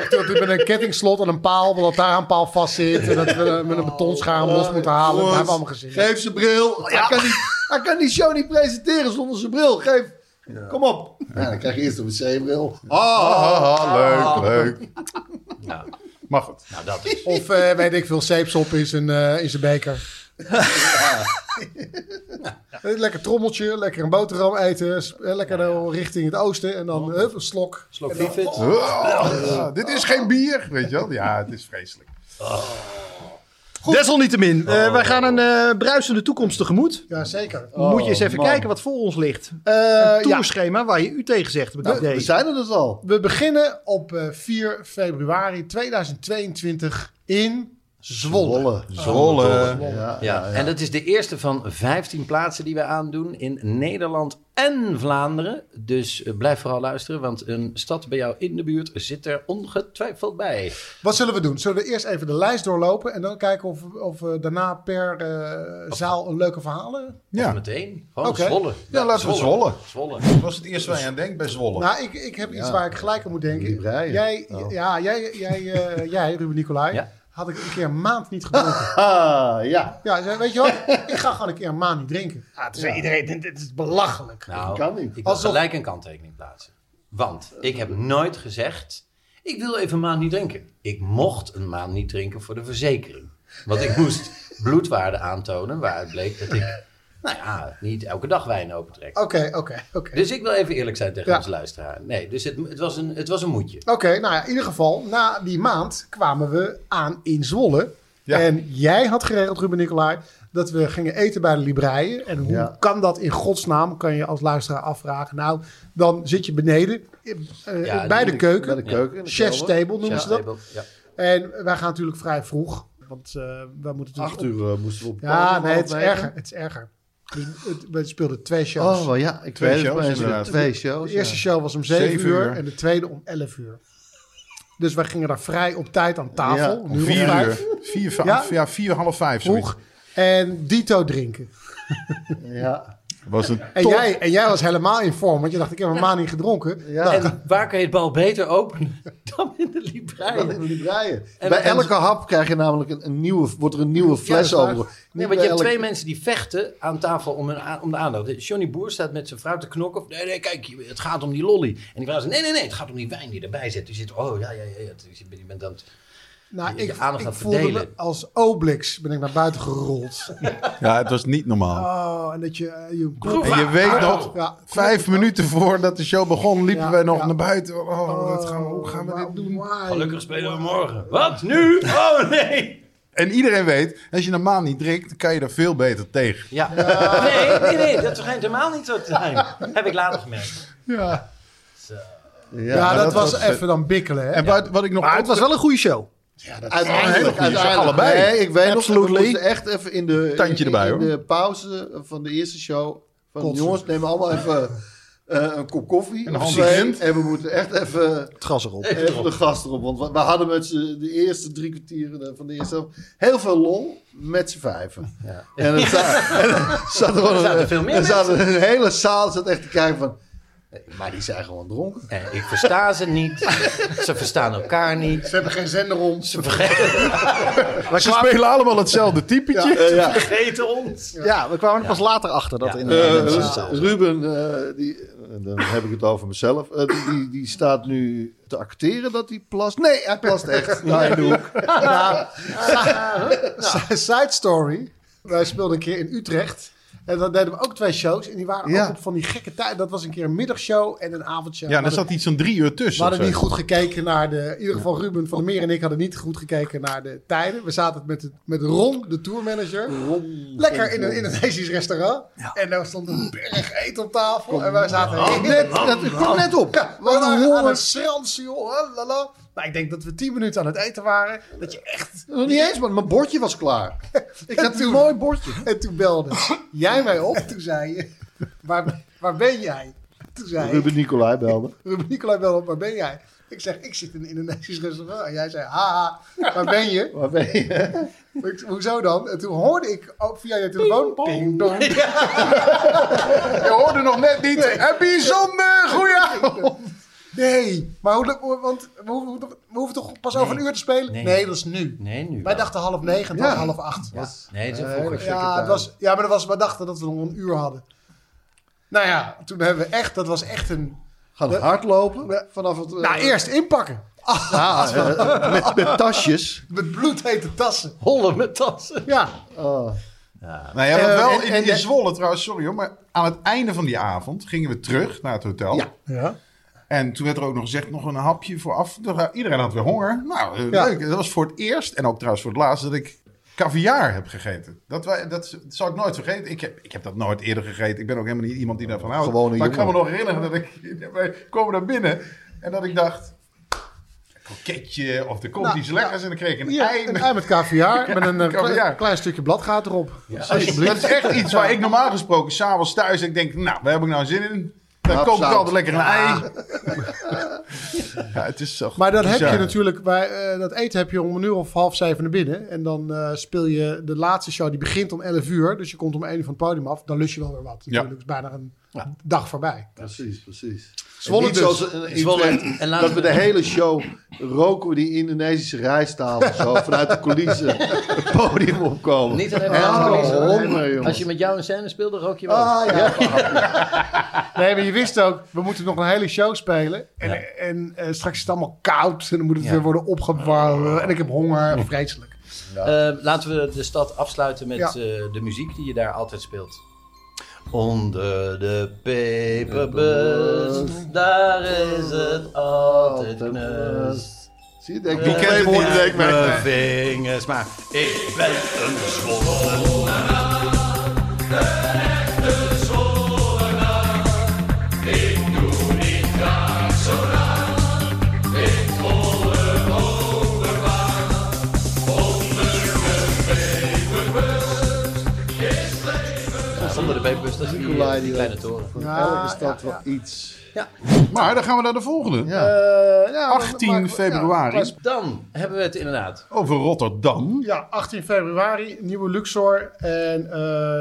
Speaker 4: Dat we met een kettingslot en een paal, dat daar een paal vast zit. En dat we eh,
Speaker 3: Oh,
Speaker 4: met een betonschaam los moeten halen. Dat hebben we allemaal gezien.
Speaker 3: Geef zijn bril. Hij, kan die, hij kan die show niet presenteren zonder zijn bril. Geef. Kom op. Ja, dan krijg je eerst een wc-bril.
Speaker 6: Ah, leuk, leuk.
Speaker 5: Ja.
Speaker 6: Maar goed.
Speaker 5: Nou, dat is.
Speaker 4: Of eh, weet ik veel, zeepsop in zijn, eh, in zijn beker. Eh, Lekker trommeltje, lekker een boterham eten. s- eh, Lekker eh, richting het oosten. En dan hup, een slok.
Speaker 5: Slok Vivit.
Speaker 6: Ah, dit is geen bier, weet je wel? Ja, het is vreselijk.
Speaker 7: Desalniettemin,
Speaker 4: Oh.
Speaker 7: eh, wij gaan een eh, bruisende toekomst tegemoet.
Speaker 4: Ja, zeker.
Speaker 7: Moet je eens even kijken wat voor ons ligt.
Speaker 4: Oh, Eh, ja, Nou,
Speaker 7: Tourschema waar je u tegen zegt. heb ik het idee.
Speaker 3: We zijn er dus al.
Speaker 4: we beginnen op eh, 4 februari 2022 in
Speaker 3: Zwolle.
Speaker 6: Zwolle.
Speaker 3: Ja,
Speaker 5: Ja, en dat is de eerste van 15 plaatsen die we aandoen in Nederland en Vlaanderen. Dus eh, blijf vooral luisteren, want een stad bij jou in de buurt zit er ongetwijfeld bij.
Speaker 4: Wat zullen we doen? Zullen we eerst even de lijst doorlopen en dan kijken of, of we daarna per eh, zaal een leuke verhalen?
Speaker 5: Of
Speaker 6: Ja,
Speaker 5: meteen. Gewoon
Speaker 4: Oké.
Speaker 5: Zwolle.
Speaker 6: Ja, laten we
Speaker 5: Zwolle.
Speaker 6: dat was het eerste waar je aan denkt bij Zwolle.
Speaker 4: Nou, ik, ik heb iets
Speaker 3: Ja.
Speaker 4: waar ik gelijk aan moet denken.
Speaker 3: Libraaien.
Speaker 4: Jij,
Speaker 3: Oh.
Speaker 4: ja, jij, jij, eh, jij, Ruben Nicolai,
Speaker 5: Ja.
Speaker 4: had ik een keer een maand niet gedronken.
Speaker 3: Ah, ja.
Speaker 4: ja, zei, weet je wat? Ik ga gewoon een keer een maand niet drinken.
Speaker 3: Ah,
Speaker 4: Ja, toen zei iedereen, dit, dit is belachelijk.
Speaker 5: Nou,
Speaker 3: kan niet.
Speaker 5: ik wil
Speaker 4: Alsof-
Speaker 5: gelijk een kanttekening plaatsen. Want ik heb nooit gezegd, ik wil even een maand niet drinken. Ik mocht een maand niet drinken voor de verzekering. Want ik moest bloedwaarden aantonen waaruit bleek dat ik, nou ja, niet elke dag wijn opentrek.
Speaker 4: Oké, oké, oké.
Speaker 5: Dus ik wil even eerlijk zijn tegen
Speaker 4: Ja.
Speaker 5: onze luisteraar. Nee, dus het, het, was een, het was een moedje.
Speaker 4: Oké, nou ja, in ieder geval, na die maand kwamen we aan in Zwolle.
Speaker 6: Ja.
Speaker 4: En jij had geregeld, Ruben Nicolai, dat we gingen eten bij de Libreien. En hoe
Speaker 3: Ja.
Speaker 4: kan dat in godsnaam, kan je als luisteraar afvragen. Nou, dan zit je beneden eh,
Speaker 5: Ja,
Speaker 4: bij
Speaker 5: die-
Speaker 4: de keuken.
Speaker 3: Bij de keuken. in de
Speaker 4: Chef's
Speaker 3: kelder.
Speaker 4: table noemen ze dat.
Speaker 5: Table, ja.
Speaker 4: En wij gaan natuurlijk vrij vroeg. Want eh we moeten natuurlijk...
Speaker 3: Acht uur eh, moesten we op
Speaker 4: Ja,
Speaker 3: podium,
Speaker 4: nee, het is
Speaker 3: half negen.
Speaker 4: erger. Het is erger. Dus het- We speelden twee shows.
Speaker 3: Oh, wel ja. Ik
Speaker 6: Twee
Speaker 3: weet het,
Speaker 6: shows,
Speaker 3: maar er zijn
Speaker 6: inderdaad.
Speaker 3: Twee shows.
Speaker 4: De eerste
Speaker 3: ja.
Speaker 4: show was om 7,
Speaker 6: Zeven
Speaker 4: uur,
Speaker 6: uur.
Speaker 4: en de tweede om 11 uur. Dus wij gingen daar vrij op tijd aan tafel.
Speaker 3: Ja,
Speaker 4: nu om
Speaker 6: vier
Speaker 4: vijf.
Speaker 6: uur. Vier, va-
Speaker 4: Ja?
Speaker 6: ja? vier, half vijf. zoiets.
Speaker 4: Vroeg. En dito drinken.
Speaker 3: Ja.
Speaker 6: Was een
Speaker 4: En jij, en jij was helemaal in vorm, want je dacht, ik heb een maand niet gedronken.
Speaker 3: Ja.
Speaker 5: En waar kan je het bal beter openen dan in de libraire?
Speaker 3: Die breien.
Speaker 5: En-
Speaker 3: Bij
Speaker 5: en-
Speaker 3: elke hap krijg je namelijk een, een nieuwe, wordt er een nieuwe fles
Speaker 4: dat is waar.
Speaker 3: over.
Speaker 5: Nee, want je hebt twee mensen die vechten aan tafel om, hun a- om de aandacht. Johnny Boer staat met zijn vrouw te knokken. Of, nee, nee, kijk, je- het gaat om die lolly. En die vrouw zegt, nee, nee, nee, het gaat om die wijn die erbij zit. Je zit, oh, ja, ja, ja, ja. Dus je bent- je bent aan het...
Speaker 4: Nou,
Speaker 5: Je- je
Speaker 4: ik,
Speaker 5: aandacht
Speaker 4: ik
Speaker 5: aan
Speaker 4: voelde me
Speaker 5: verdelen.
Speaker 4: als Obelix ben ik naar buiten gerold.
Speaker 6: Ja, het was niet normaal.
Speaker 4: Oh, en dat je... eh, je
Speaker 6: En je weet nog,
Speaker 4: Ja.
Speaker 6: vijf minuten voordat de show begon, liepen
Speaker 4: Ja,
Speaker 6: wij nog
Speaker 4: ja.
Speaker 6: naar buiten. Oh, wat gaan we, hoe gaan we
Speaker 4: Wauw,
Speaker 6: dit doen?
Speaker 4: wauw.
Speaker 5: Gelukkig spelen we morgen. Wat, nu? Oh, nee.
Speaker 6: En iedereen weet, als je normaal niet drinkt, dan kan je er veel beter tegen.
Speaker 5: Ja. Nee, nee, nee, dat schijnt helemaal niet zo te zijn. Heb ik later gemerkt.
Speaker 6: Ja.
Speaker 4: Ja, dat,
Speaker 6: dat
Speaker 4: was
Speaker 6: was-
Speaker 4: even dan bikkelen. Hè?
Speaker 6: En wat, wat ik nog...
Speaker 7: Maar het was wel een goede show.
Speaker 3: Uiteindelijk, uiteindelijk.
Speaker 6: allebei.
Speaker 3: Nee, ik weet nog, we
Speaker 6: Absolutely.
Speaker 3: moesten echt even in de, in,
Speaker 6: Tandje erbij,
Speaker 3: in
Speaker 6: hoor.
Speaker 3: de pauze van de eerste show. Van
Speaker 4: Kotsen.
Speaker 3: jongens, neem allemaal even eh, een kop koffie.
Speaker 6: Een
Speaker 3: of
Speaker 6: handje
Speaker 3: twee.
Speaker 6: grind.
Speaker 3: En we moeten echt even,
Speaker 7: Het gas erop.
Speaker 3: even de gast erop. Want we- we hadden met z'n- de eerste drie kwartieren eh, van de eerste helft heel veel lol met z'n vijven. En het za- en er zat gewoon
Speaker 5: Er zaten
Speaker 3: een-
Speaker 5: veel meer
Speaker 3: er zaten een hele zaal zat echt te kijken van... "Hé, Maar die zijn gewoon dronken.
Speaker 5: En ik versta ze niet. Ze verstaan elkaar niet.
Speaker 4: Ze hebben geen zender om.
Speaker 5: Ze verge-
Speaker 6: Ze spelen allemaal hetzelfde typetje.
Speaker 3: Eh, ja.
Speaker 5: vergeten ons.
Speaker 7: Ja, we kwamen er pas later achter dat
Speaker 5: Ja.
Speaker 7: in
Speaker 3: Eh,
Speaker 7: mensen
Speaker 3: Ru-
Speaker 7: hetzelfde
Speaker 3: Ruben, eh, die, eh, dan heb ik het over mezelf. Eh, die, die, die staat nu te acteren dat hij plast. Nee, hij plast echt. Daar in de hoek.
Speaker 4: Nou, Side story. Wij speelden een keer in Utrecht. En dan deden we ook twee shows. En die waren
Speaker 3: Ja.
Speaker 4: ook op van die gekke tijd. Dat was een keer een middagshow en een avondshow.
Speaker 6: Ja,
Speaker 4: We
Speaker 6: daar
Speaker 4: hadden-
Speaker 6: zat iets van drie uur
Speaker 4: we
Speaker 6: tussen.
Speaker 4: hadden
Speaker 6: of
Speaker 4: niet
Speaker 6: zo.
Speaker 4: goed gekeken naar de... In ieder geval Ruben van der Meer en ik hadden niet goed gekeken naar de tijden. We zaten met, het, met Ron, de tourmanager. Lekker in een Indonesisch restaurant. En daar stond een berg eten op tafel. en wij zaten
Speaker 3: Net, dat ik kwam net op.
Speaker 4: ja, we
Speaker 3: Wat een
Speaker 4: waren aan
Speaker 3: honger.
Speaker 4: het schransen, joh. Halala. Maar ik denk dat we tien minuten aan het eten waren. Dat je echt...
Speaker 3: Nog niet eens, maar mijn bordje was klaar.
Speaker 4: Ik
Speaker 3: Ik had een mooi bordje.
Speaker 4: En toen belde jij mij op. Toen zei je, waar, waar ben jij? Toen zei Ruben,
Speaker 3: Ruben Nicolai belde.
Speaker 4: Ruben Nicolai belde op, waar ben jij? Ik zeg, ik zit in een Indonesisch restaurant. En jij zei, haha, waar ben je?
Speaker 3: Waar ben je?
Speaker 4: Maar ik- Hoezo dan? En toen hoorde ik ook via je telefoon... Ping, dong.
Speaker 6: Je hoorde nog net niet. Een bijzonder goeie avond.
Speaker 4: Nee, maar hoe, hoe- want we hoeven, we hoeven toch pas over een uur te spelen? Nee,
Speaker 5: Nee.
Speaker 4: dat is nu.
Speaker 5: Nee, nu
Speaker 4: Wij
Speaker 5: wel.
Speaker 4: dachten half negen, het
Speaker 3: Ja.
Speaker 4: was half acht.
Speaker 5: Ja. Nee,
Speaker 3: Eh,
Speaker 5: ze vroegen
Speaker 4: Ja, het was, ja, maar dat was, we dachten dat we nog een uur hadden. Nou ja, toen hebben we echt, dat was echt een...
Speaker 3: Gaan hardlopen vanaf het... eh,
Speaker 4: Nou, eerst inpakken. Ah,
Speaker 3: ah, eh, met, met tasjes.
Speaker 4: met bloedhete tassen.
Speaker 5: hollen met tassen.
Speaker 4: Ja,
Speaker 3: Ah.
Speaker 6: Nou ja, wat
Speaker 4: Eh,
Speaker 6: wel
Speaker 4: en-
Speaker 6: in,
Speaker 4: en-
Speaker 6: in Zwolle trouwens, sorry hoor. Maar aan het einde van die avond gingen we terug naar het hotel.
Speaker 3: Ja.
Speaker 4: Ja.
Speaker 6: En toen werd er ook nog gezegd, nog een hapje voor af. Iedereen had weer honger. Nou, eh,
Speaker 4: Ja.
Speaker 6: leuk. Dat was voor het eerst, en ook trouwens voor het laatst, dat ik caviar heb gegeten. Dat, wij, dat zal ik nooit vergeten. Ik heb, ik heb dat nooit eerder gegeten. Ik ben ook helemaal niet iemand die daarvan houdt.
Speaker 3: Gewoon een
Speaker 6: maar ik kan me
Speaker 3: jongen.
Speaker 6: nog herinneren dat ik... Wij komen daar binnen en dat ik dacht... kroketje of er komt
Speaker 4: Nou,
Speaker 6: iets lekkers en dan kreeg ik een
Speaker 4: Ja,
Speaker 6: ei.
Speaker 4: een ei met caviar, met een eh,
Speaker 6: caviar.
Speaker 4: klein- klein stukje bladgaat erop.
Speaker 6: Dat is echt iets waar ik normaal gesproken s'avonds thuis en ik denk, nou, waar heb ik nou zin in? Dan
Speaker 3: Hap,
Speaker 6: kook ik
Speaker 3: zout.
Speaker 6: altijd lekker een ei. Ja, het is toch
Speaker 4: Maar dat heb
Speaker 6: bizar.
Speaker 4: je natuurlijk, bij, eh, dat eten heb je om een uur of half zeven naar binnen. En dan eh, speel je de laatste show, die begint om 11 uur. Dus je komt om 1 uur van het podium af. Dan lus je wel weer wat. Natuurlijk is bijna een dag voorbij.
Speaker 3: Precies, precies.
Speaker 4: Zwolle
Speaker 3: Zwolle
Speaker 4: dus.
Speaker 3: Zoals een- in
Speaker 5: Zwolle.
Speaker 3: Twente,
Speaker 5: En laten
Speaker 3: dat we de hele show roken we die Indonesische rijsttafel zo vanuit de coulissen het podium opkomen.
Speaker 5: Niet alleen
Speaker 3: Oh,
Speaker 5: maar als,
Speaker 3: honger, jongen.
Speaker 5: als je met jou een scène speelde, rook je wel.
Speaker 4: Ah, ja. nee, maar je wist ook, we moeten nog een hele show spelen. En, en eh, straks is het allemaal koud. En dan moet het
Speaker 5: Ja.
Speaker 4: weer worden opgewarmd. En ik heb honger. Vreselijk.
Speaker 5: Eh, laten we de stad afsluiten met
Speaker 4: Ja.
Speaker 5: eh, de muziek die je daar altijd speelt. Onder de peperbus, daar is het altijd knus.
Speaker 3: Zie je, denk ik,
Speaker 6: Wie
Speaker 3: die
Speaker 6: kent het niet?
Speaker 3: week mee.
Speaker 5: Mijn vingers, maar ik ben een zwollen. Onder de peperbus, dat is die, eh,
Speaker 3: Nicolai
Speaker 5: die
Speaker 3: die
Speaker 5: kleine toren.
Speaker 3: Elke stad wel iets.
Speaker 6: Maar dan gaan we naar de volgende.
Speaker 4: Eh, ja, dan-
Speaker 6: 18
Speaker 4: maar- ja,
Speaker 6: februari
Speaker 5: Dan hebben we het inderdaad.
Speaker 6: over Rotterdam.
Speaker 4: Ja, 18 februari, nieuwe Luxor. En eh,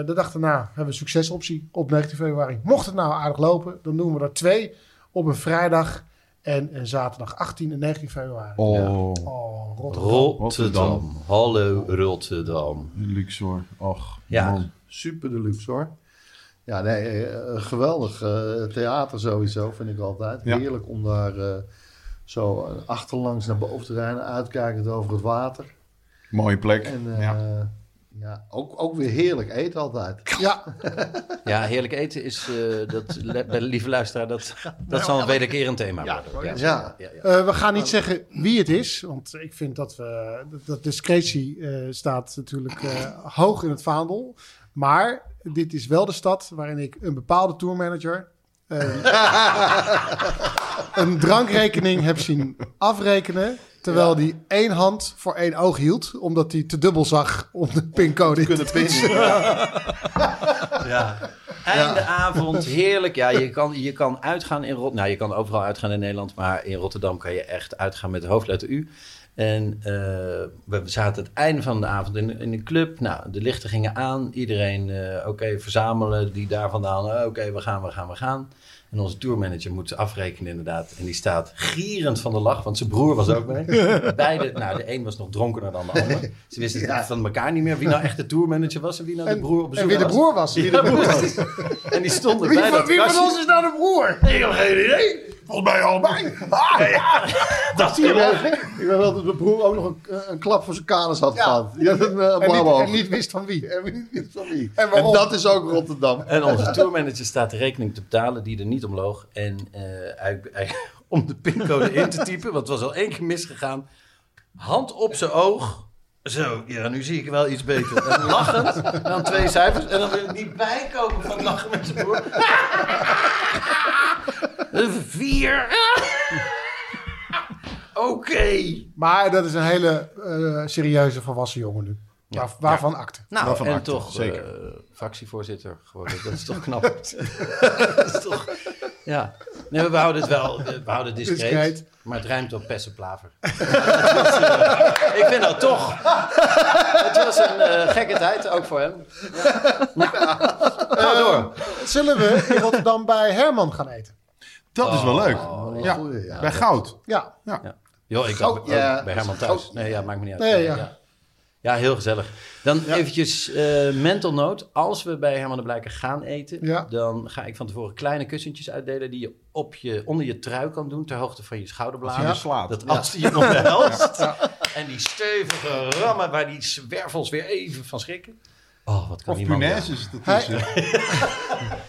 Speaker 4: de dag daarna hebben we een succesoptie op 19 februari. Mocht het nou aardig lopen, dan doen we er twee op een vrijdag en een zaterdag 18 en 19 februari.
Speaker 6: Oh,
Speaker 4: Oh, Rotterdam.
Speaker 5: Rotterdam. Hallo Rotterdam.
Speaker 6: Luxor. Och,
Speaker 5: Ja.
Speaker 6: man.
Speaker 3: Super deluxe hoor. Ja, nee, eh, eh, geweldig eh, theater sowieso, vind ik altijd.
Speaker 6: Ja.
Speaker 3: Heerlijk om daar eh, zo eh, achterlangs naar boven te rijden, uitkijkend over het water.
Speaker 6: Mooie plek.
Speaker 3: En eh,
Speaker 6: ja.
Speaker 3: ja, ook, ook weer heerlijk eten altijd.
Speaker 4: Ja,
Speaker 5: Ja, heerlijk eten is, eh, dat, le- bij de lieve luisteraar, dat, dat zal een wederkerend thema worden. Ja.
Speaker 3: Ja,
Speaker 4: eh, we gaan niet zeggen wie het is, want ik vind dat we dat- dat discretie eh, staat natuurlijk eh, hoog in het vaandel. Maar dit is wel de stad waarin ik een bepaalde tourmanager eh, een drankrekening heb zien afrekenen. Terwijl die één hand voor één oog hield. Omdat hij te dubbel zag om de pincode in te toetsen.
Speaker 5: Einde avond, heerlijk. Ja, je kan, je kan uitgaan in Rotterdam. Nou, je kan overal uitgaan in Nederland, maar in Rotterdam kan je echt uitgaan met de hoofdletter U. En eh, we zaten het einde van de avond in, in een club. Nou, de lichten gingen aan. Iedereen, eh, oké, verzamelen. Die daar vandaan, eh, oké, we gaan, we gaan, we gaan. En onze tourmanager moet afrekenen inderdaad. En die staat gierend van de lach, want zijn broer was ook mee. Beide, nou, de een was nog dronkener dan de ander. Ze wisten het echt van elkaar niet meer wie nou echt de tourmanager was en wie nou de broer op bezoek
Speaker 3: Dus
Speaker 4: En wie de
Speaker 5: was.
Speaker 4: broer was.
Speaker 5: Ja, precies. En die stonden bij dat kastje.
Speaker 4: is nou de broer?
Speaker 5: Ik heb geen idee.
Speaker 6: Volgens mij allebei.
Speaker 5: Dat is wel.
Speaker 3: Ah, ik weet wel dat mijn broer ook nog een, een klap voor zijn kanus had gehad. Die had een uh,
Speaker 4: En niet,
Speaker 3: blauwboog.
Speaker 4: en niet wist van wie.
Speaker 3: En wie- wie- van wie?
Speaker 4: En
Speaker 3: En
Speaker 4: waarom?
Speaker 3: dat is ook Rotterdam.
Speaker 5: En onze tourmanager staat de rekening te betalen die er niet omloog. En eh, hij- hij- om de pincode in te typen, want het was al één keer misgegaan. Hand op zijn oog. Zo, ja, nu zie ik wel iets beter. En lachend, en dan twee cijfers. En dan wil ik niet bijkomen van lachen met zijn broer. Een Vier. Oké.
Speaker 4: Maar dat is een hele eh, serieuze volwassen jongen nu. Waar- waarvan acte.
Speaker 5: Nou,
Speaker 6: Waarvan
Speaker 5: en
Speaker 6: acte,
Speaker 5: toch
Speaker 6: zeker.
Speaker 5: eh, fractievoorzitter geworden. Dat is toch knap. dat is toch, ja. Nee, we houden het wel, eh, we houden het discreet.
Speaker 4: Discreet.
Speaker 5: Maar het ruimt op pest en plaver. Dat is, eh, ik vind dat toch. het was een eh, gekke tijd, ook voor hem.
Speaker 4: Ga door. Zullen we in Rotterdam bij Herman gaan eten?
Speaker 6: Dat is wel leuk. ja.
Speaker 3: Oh, goeie, ja.
Speaker 6: Bij goud.
Speaker 4: Ja.
Speaker 5: Joh, ik dacht
Speaker 3: ja.
Speaker 5: bij Herman thuis. Nee, ja, maakt me niet uit.
Speaker 4: Nee,
Speaker 5: ja.
Speaker 4: ja.
Speaker 5: Ja. heel gezellig. Dan eventjes eh, mental note. Als we bij Herman de Blijker gaan eten,
Speaker 4: Ja.
Speaker 5: dan ga ik van tevoren kleine kussentjes uitdelen die je, op je onder je trui kan doen, ter hoogte van je schouderbladen.
Speaker 6: Als je slaat.
Speaker 5: Dat als die je omhelst. En die stevige rammen waar die zwervels weer even van schrikken. Oh, wat kan
Speaker 6: Of
Speaker 5: niemand
Speaker 6: punaise is eh, het ertussen.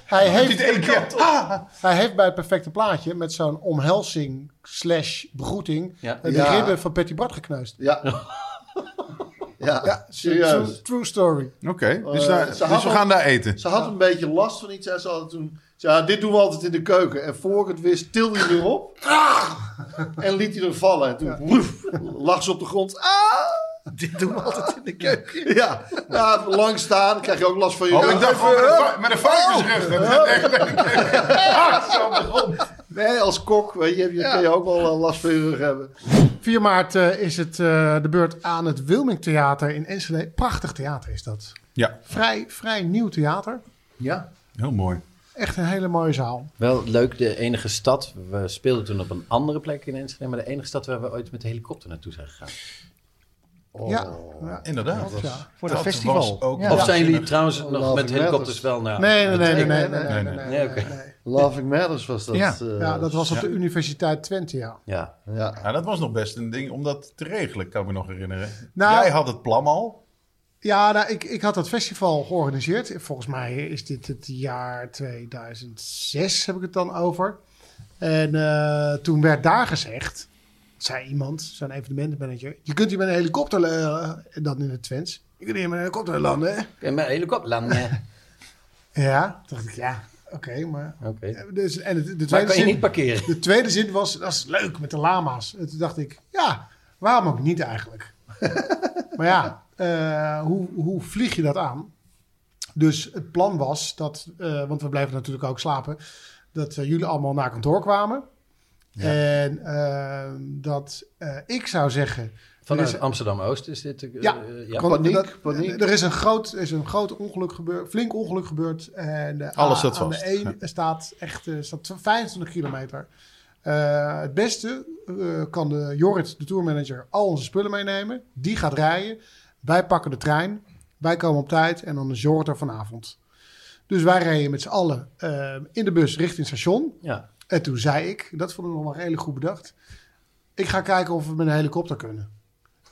Speaker 4: Hij
Speaker 6: Niet
Speaker 4: heeft,
Speaker 6: één keer. Ah,
Speaker 4: hij heeft bij het perfecte plaatje met zo'n omhelzing slash begroeting
Speaker 5: Ja.
Speaker 4: eh, de
Speaker 3: Ja.
Speaker 4: ribben van Patty Bart gekneusd.
Speaker 3: Ja. ja.
Speaker 4: True,
Speaker 3: serieus.
Speaker 4: true story.
Speaker 6: Oké, dus, daar-
Speaker 3: Eh, ze
Speaker 6: dus
Speaker 3: had
Speaker 6: we
Speaker 3: al-
Speaker 6: gaan daar eten.
Speaker 3: Ze had een beetje last van iets. En ze had toen... ze zei, Ja, dit doen we altijd in de keuken. En voor ik het wist, tilde hij erop. En liet hij er vallen. En toen woef, lag ze op de grond. Ah!
Speaker 7: Dit doen we altijd in de keuken.
Speaker 3: Ja, ja, lang staan. Krijg je ook last van je
Speaker 6: Oh,
Speaker 3: rug.
Speaker 6: ik dacht gewoon met een va- met een varkensrug. Dat is echt hard zo op de grond.
Speaker 3: Nee, als kok weet je, heb je, kun je ook wel eh, last van je rug hebben.
Speaker 4: 4 maart eh, is het eh, de beurt aan het Wilming Theater in Enschede. Prachtig theater is dat.
Speaker 6: Ja,
Speaker 4: Vrij, vrij nieuw theater.
Speaker 3: Ja.
Speaker 6: heel mooi.
Speaker 4: Echt een hele mooie zaal.
Speaker 5: Wel leuk, de enige stad. We speelden toen op een andere plek in Enschede, maar de enige stad waar we ooit met de helikopter naartoe zijn gegaan.
Speaker 4: Ja, ja.
Speaker 6: Inderdaad.
Speaker 4: Dat, ja.
Speaker 7: Voor dat festival.
Speaker 6: was ook-
Speaker 7: Ja.
Speaker 5: Of zijn jullie trouwens nog
Speaker 3: Love
Speaker 5: met
Speaker 3: Matters.
Speaker 5: helikopters wel naar...
Speaker 4: Nee, nee, nee, nee, nee, nee,
Speaker 6: nee,
Speaker 4: nee,
Speaker 6: nee.
Speaker 4: nee,
Speaker 5: Nee, oké.
Speaker 4: nee.
Speaker 3: Laughing Matters was dat.
Speaker 7: Ja.
Speaker 3: eh,
Speaker 4: Ja, dat was op de Universiteit Twente, ja.
Speaker 5: Ja,
Speaker 3: ja.
Speaker 6: Ja, Nou, dat was nog best een ding om dat te regelen, kan ik me nog herinneren.
Speaker 4: Nou-
Speaker 6: Jij had het plan al.
Speaker 4: Ja, nou, ik, ik had dat festival georganiseerd. Volgens mij is dit het jaar 2006, heb ik het dan over. En eh, toen werd daar gezegd, zei iemand, zo'n evenementenmanager... je kunt hier met een helikopter, eh, en dat in het Twents... je kunt hier met een helikopter landen, hè?
Speaker 5: Oké, met een helikopter landen.
Speaker 4: Ja, toen dacht ik, ja, oké, maar...
Speaker 5: Oké.
Speaker 4: Dus, en de, de
Speaker 5: Maar
Speaker 4: tweede
Speaker 5: kan je
Speaker 4: zin,
Speaker 5: niet parkeren?
Speaker 4: de tweede zin was, dat is leuk met de lama's. En toen dacht ik, ja, waarom ook niet eigenlijk? maar ja, eh, hoe, hoe vlieg je dat aan? Dus het plan was dat, eh, want we bleven natuurlijk ook slapen, dat eh, jullie allemaal naar kantoor kwamen. En eh, dat eh, ik zou zeggen,
Speaker 5: Vanuit
Speaker 4: Er is-
Speaker 5: Amsterdam-Oost is dit... eh,
Speaker 4: Ja,
Speaker 5: eh, ja.
Speaker 4: kan-
Speaker 3: Paniek,
Speaker 4: dat-
Speaker 3: paniek.
Speaker 4: Er is een groot, er is een groot ongeluk gebeurd, flink ongeluk gebeurd. En de
Speaker 6: Alles
Speaker 4: A-
Speaker 6: staat
Speaker 4: aan
Speaker 6: vast,
Speaker 4: de 1
Speaker 6: ja.
Speaker 4: staat echt eh, staat 25 kilometer. Eh, het beste eh, kan de Jorrit, de tourmanager, al onze spullen meenemen. Die gaat rijden. Wij pakken de trein. Wij komen op tijd en dan is Jorrit er vanavond. Dus wij rijden met z'n allen eh, in de bus richting station.
Speaker 5: Ja.
Speaker 4: En toen zei ik, dat vond ik nog wel redelijk goed bedacht. Ik ga kijken of we met een helikopter kunnen.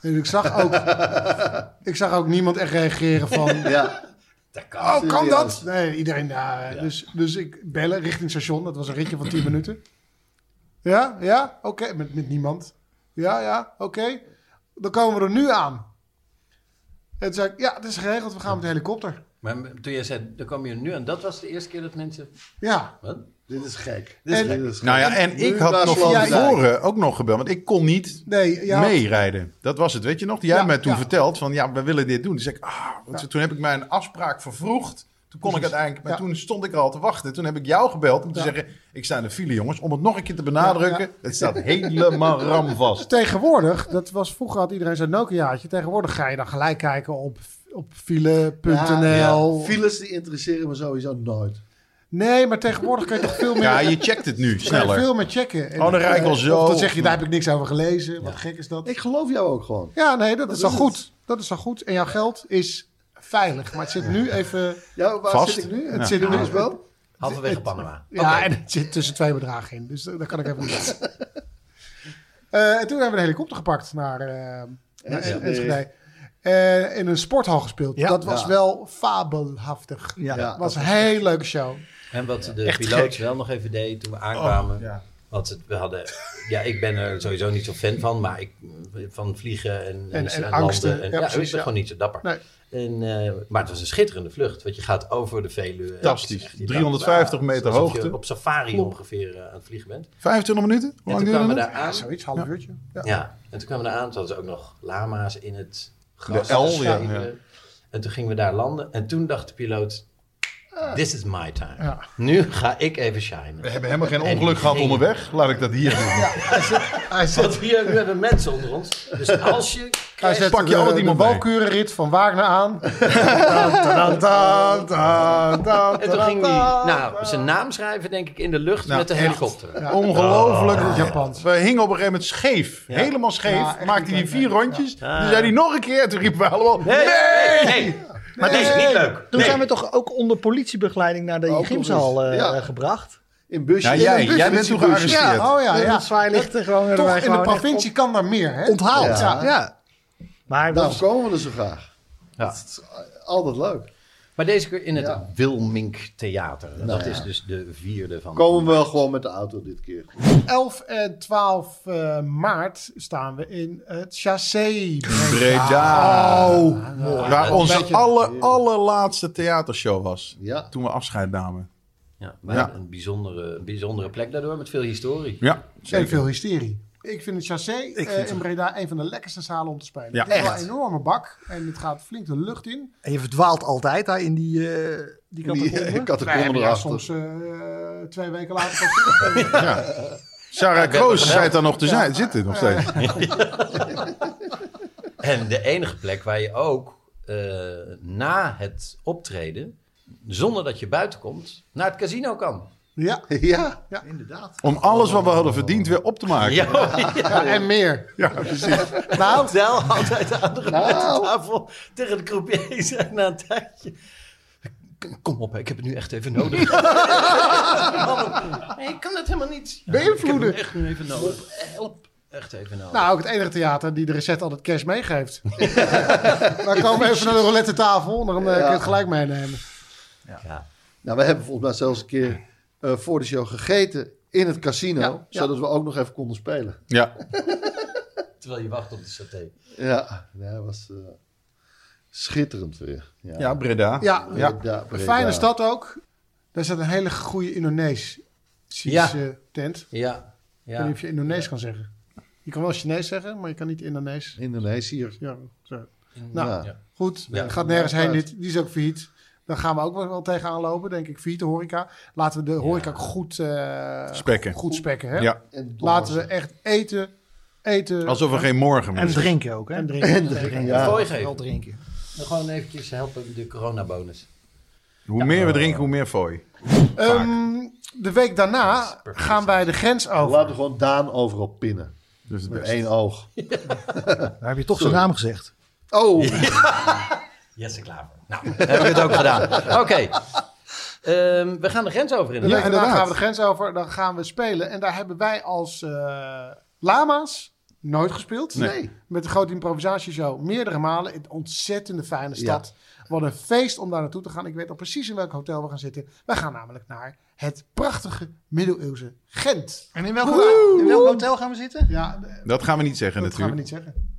Speaker 4: En ik zag ook, ik zag ook niemand echt reageren van...
Speaker 3: Ja.
Speaker 4: Oh, kan dat? Nee, iedereen daar. Dus, dus ik bellen richting station. Dat was een ritje van 10 minuten. Ja, ja, oké. Met, met niemand. Ja, ja, oké. Dan komen we er nu aan. En toen zei ik, ja, het is geregeld. We gaan met de helikopter.
Speaker 5: Maar m- toen jij zei, daar kwam je nu aan. Dat was de eerste keer dat mensen...
Speaker 4: Ja,
Speaker 5: Wat?
Speaker 3: Dit is gek.
Speaker 4: is
Speaker 3: Dit
Speaker 4: gek.
Speaker 3: is gek.
Speaker 6: Nou ja, en
Speaker 3: Nu
Speaker 6: ik had
Speaker 3: naar
Speaker 6: nog van
Speaker 3: Sloterdijk.
Speaker 6: tevoren ook nog gebeld, want ik kon niet
Speaker 4: nee. Ja,
Speaker 6: meerijden. Dat was het, weet je nog? Jij
Speaker 4: Ja,
Speaker 6: hebt mij toen
Speaker 4: ja.
Speaker 6: verteld van, ja, we willen dit doen. Toen, zei ik, ah, want toen heb ik mijn afspraak vervroegd. Toen kon ik uiteindelijk, maar
Speaker 4: Ja.
Speaker 6: toen stond ik er al te wachten. Toen heb ik jou gebeld om te
Speaker 4: Ja.
Speaker 6: zeggen, ik sta in de file, jongens. Om het nog een keer te benadrukken,
Speaker 4: Ja,
Speaker 6: het staat helemaal ramvast.
Speaker 4: Tegenwoordig, dat was vroeger had iedereen zo'n Nokiaatje. Tegenwoordig ga je dan gelijk kijken op, op file.nl.
Speaker 3: Ja, Files die interesseren me sowieso nooit.
Speaker 4: Nee, maar tegenwoordig kun je toch veel meer,
Speaker 6: Ja, je checkt het nu
Speaker 4: kan je
Speaker 6: sneller.
Speaker 4: veel meer checken. En,
Speaker 6: Oh, dan rijd ik al
Speaker 4: eh,
Speaker 6: zo.
Speaker 4: Of dan zeg je, daar heb ik niks over gelezen. Wat gek is dat.
Speaker 3: Ik geloof jou ook gewoon.
Speaker 4: Ja, nee, dat, is al
Speaker 3: is
Speaker 4: goed. Dat is al goed. En jouw geld is veilig. Maar het zit nu even...
Speaker 3: Ja, waar
Speaker 6: Vast.
Speaker 3: zit ik nu?
Speaker 4: Het
Speaker 6: Ja.
Speaker 4: zit er nu
Speaker 3: Is wel?
Speaker 5: Halverwege Panama.
Speaker 4: Ja, en het zit tussen twee bedragen in. Dus daar kan ik even niet aan. Eh, en toen hebben we een helikopter gepakt naar eh, naar
Speaker 3: Enschede.
Speaker 4: Enschede. En in een sporthal gespeeld.
Speaker 7: Ja.
Speaker 4: dat was
Speaker 3: Ja.
Speaker 4: wel fabelhaftig.
Speaker 7: Ja.
Speaker 3: Ja.
Speaker 4: Het was een hele leuke show.
Speaker 5: En wat de
Speaker 7: Echt
Speaker 5: piloot
Speaker 7: gek.
Speaker 5: wel nog even deed toen we
Speaker 4: Oh,
Speaker 5: aankwamen.
Speaker 6: ja.
Speaker 5: Want het- we hadden... Ja, ik ben er sowieso niet zo fan van. Maar ik... Van vliegen en,
Speaker 4: en
Speaker 5: landen.
Speaker 4: angsten. Ja,
Speaker 5: En, ja,
Speaker 4: precies,
Speaker 5: ik is
Speaker 4: ja.
Speaker 5: toch gewoon niet zo dapper.
Speaker 4: Nee.
Speaker 5: En, eh, maar het was een schitterende vlucht. Want je gaat over de Veluwe.
Speaker 6: Fantastisch.
Speaker 5: Het is echt
Speaker 6: 350 meter
Speaker 5: alsof je
Speaker 6: hoogte.
Speaker 5: op safari ongeveer eh, aan het vliegen bent.
Speaker 6: 25 minuten? Hoe
Speaker 5: En
Speaker 6: lang
Speaker 5: toen
Speaker 6: duurde
Speaker 5: kwamen we
Speaker 6: het?
Speaker 5: daar aan.
Speaker 4: Ja, zoiets, half uurtje. Ja.
Speaker 5: Ja, en toen kwamen we eraan. Toen hadden ze ook nog lama's in het gras.
Speaker 6: De L, ja,
Speaker 5: geschreven.
Speaker 6: ja.
Speaker 5: En toen gingen we daar landen. En toen dacht de piloot, this is my time.
Speaker 4: Ja.
Speaker 5: Nu ga ik even shinen.
Speaker 6: Ah. We hebben helemaal geen
Speaker 5: En
Speaker 6: ongeluk
Speaker 5: die
Speaker 6: gehad
Speaker 5: ging.
Speaker 6: onderweg. Laat ik dat hier doen.
Speaker 4: Hij zet,
Speaker 5: Want hier, nu hebben we mensen onder ons. Dus als je
Speaker 4: hij
Speaker 5: krijgt...
Speaker 4: zet
Speaker 6: pak je
Speaker 4: de-
Speaker 6: altijd
Speaker 4: de
Speaker 6: iemand mee.
Speaker 4: walkurenrit van Wagner aan.
Speaker 5: En toen ging
Speaker 6: Ah.
Speaker 5: hij nou, zijn naam schrijven, denk ik, in de lucht
Speaker 6: Nou,
Speaker 5: met de helikopter.
Speaker 6: Ongelooflijk.
Speaker 4: In het Japans.
Speaker 6: We hingen op een gegeven moment scheef.
Speaker 5: Ja.
Speaker 6: Helemaal scheef.
Speaker 4: Ja, echt
Speaker 6: Maakte
Speaker 4: niet
Speaker 6: hij
Speaker 4: leuk,
Speaker 6: vier
Speaker 4: nee.
Speaker 6: rondjes. Toen zei hij nog een keer. Toen riepen we allemaal...
Speaker 5: Nee,
Speaker 6: Nee!
Speaker 5: nee, nee. Maar deze is niet leuk.
Speaker 7: Toen
Speaker 5: Nee.
Speaker 7: zijn we toch ook onder politiebegeleiding naar de
Speaker 3: Ook nog
Speaker 7: gymzaal
Speaker 3: eens. Ja.
Speaker 7: eh, gebracht.
Speaker 3: In busje.
Speaker 6: Ja,
Speaker 3: in een
Speaker 6: jij,
Speaker 3: busje
Speaker 6: jij
Speaker 3: met
Speaker 6: bent
Speaker 3: z'n
Speaker 6: toen
Speaker 3: busje.
Speaker 6: gearresteerd.
Speaker 4: Ja, oh ja, ja.
Speaker 7: zwaarlichten gewoon. hebben wij
Speaker 4: Toch in de
Speaker 7: gewoon echt
Speaker 4: provincie kan daar meer, hè?
Speaker 7: op- Onthaald.
Speaker 3: Ja.
Speaker 7: Ja. Maar
Speaker 4: Nou,
Speaker 7: dat
Speaker 3: Daarom
Speaker 7: is-
Speaker 3: Nou, komen we er zo graag.
Speaker 5: Ja.
Speaker 3: Het is altijd leuk.
Speaker 5: Maar deze keer in het
Speaker 3: Ja. Nou
Speaker 5: Wilmink Theater. Dat
Speaker 3: ja.
Speaker 5: is dus de vierde van...
Speaker 3: Komen we wel gewoon met de auto dit keer.
Speaker 4: 11 en 12 eh, maart staan we in het Chassé.
Speaker 6: Breda.
Speaker 4: mooi.
Speaker 6: Oh, Waar
Speaker 5: Een
Speaker 6: onze
Speaker 4: beetje-
Speaker 6: aller, allerlaatste theatershow was.
Speaker 3: Ja.
Speaker 6: Toen we afscheid namen.
Speaker 5: Ja, maar
Speaker 6: Ja.
Speaker 5: een bijzondere, bijzondere plek daardoor met veel historie.
Speaker 6: Ja,
Speaker 4: En
Speaker 6: zeker.
Speaker 4: veel hysterie. Ik vind het Chassé eh,
Speaker 7: vind
Speaker 4: in
Speaker 7: het-
Speaker 4: Breda een van de lekkerste zalen om te spelen.
Speaker 6: Ja,
Speaker 4: het is wel
Speaker 7: echt.
Speaker 4: een enorme bak en het gaat flink de lucht in.
Speaker 7: En je verdwaalt altijd daar in die, eh
Speaker 3: Die
Speaker 7: die catacomben.
Speaker 3: eh,
Speaker 4: Wij
Speaker 3: catacomben
Speaker 4: hebben daar
Speaker 3: erachter.
Speaker 4: soms eh, twee weken later pas teruggekomen.
Speaker 6: Sarah Kroos zei het dan nog te zijn. Zit er nog steeds.
Speaker 5: En de enige plek waar je ook eh, na het optreden, zonder dat je buiten komt, naar het casino kan.
Speaker 4: Ja,
Speaker 3: Ja,
Speaker 7: Inderdaad.
Speaker 6: Om alles wat we hadden verdiend weer op te maken. Ja,
Speaker 4: ja, en meer.
Speaker 6: precies.
Speaker 2: Nou, wel altijd de
Speaker 3: Nou.
Speaker 2: andere aan de tafel tegen de croupier zei na een tijdje. "K- Kom op, hè, ik heb het nu echt even nodig. Nee, ik kan dat helemaal niet.
Speaker 4: Beïnvloeden.
Speaker 2: Ik heb het echt nu even nodig. Help, echt even nodig.
Speaker 4: Nou, ook het enige theater die de recet altijd cash meegeeft. Wij komen even naar de roulette tafel, dan eh, kun je het gelijk meenemen.
Speaker 5: ja.
Speaker 3: nou, we hebben volgens mij zelfs een keer eh, voor de show gegeten in het casino,
Speaker 4: Ja, ja.
Speaker 3: zodat we ook nog even konden spelen.
Speaker 6: Ja.
Speaker 5: Terwijl je wacht op de saté.
Speaker 3: Ja, nee, dat was eh, schitterend weer. Ja,
Speaker 6: ja, Breda.
Speaker 4: Ja,
Speaker 6: Ja.
Speaker 3: Breda,
Speaker 4: een
Speaker 3: Breda.
Speaker 4: fijne stad ook. Daar zit een hele goede Indonesische
Speaker 5: Ja.
Speaker 4: tent. Ik
Speaker 5: Ja,
Speaker 4: weet
Speaker 5: ja.
Speaker 4: niet of je Indonees kan zeggen. Je kan wel Chinees zeggen, maar je kan niet Indonees.
Speaker 3: Indonesiër.
Speaker 4: Ja, zo. Nou,
Speaker 3: Ja.
Speaker 4: goed.
Speaker 5: Ja.
Speaker 4: Het gaat nergens heen. Dit, die is ook failliet. Dan gaan we ook wel wel tegenaan lopen, denk ik. Failliet de horeca. Laten we de horeca ook goed, eh,
Speaker 6: Spekken.
Speaker 4: goed spekken. Hè?
Speaker 6: Ja.
Speaker 3: En
Speaker 4: Laten we echt eten, eten
Speaker 6: Alsof er geen morgen meer
Speaker 7: En
Speaker 6: is.
Speaker 7: drinken ook, hè?
Speaker 4: en drinken.
Speaker 3: Ja.
Speaker 5: Fooi
Speaker 7: Wel
Speaker 5: geven.
Speaker 7: drinken.
Speaker 5: Dan gewoon eventjes helpen de coronabonus.
Speaker 6: Hoe meer we drinken, hoe meer fooi.
Speaker 4: Ehm, de week daarna gaan wij de grens over.
Speaker 3: Laten we gewoon Daan overal pinnen.
Speaker 6: Dus het
Speaker 3: Met
Speaker 6: beste.
Speaker 3: één oog.
Speaker 7: Daar heb je toch zijn naam gezegd.
Speaker 3: Oh,
Speaker 5: Jesse Klaver. Nou, hebben we het ook gedaan. Oké. Ehm, we gaan de grens over in.
Speaker 4: De week daarna
Speaker 6: inderdaad.
Speaker 4: gaan we de grens over. Dan gaan we spelen. En daar hebben wij als eh, lama's nooit gespeeld.
Speaker 6: Nee.
Speaker 4: Met de grote improvisatieshow meerdere malen. In een ontzettende fijne stad. Wat een feest om daar naartoe te gaan. Ik weet al precies in welk hotel we gaan zitten. Wij gaan namelijk naar het prachtige middeleeuwse Gent.
Speaker 7: En in welk, hotel- in welk hotel gaan we zitten?
Speaker 4: Ja, dat
Speaker 6: Dat gaan we niet zeggen
Speaker 4: gaan we
Speaker 6: natuurlijk.
Speaker 4: niet zeggen.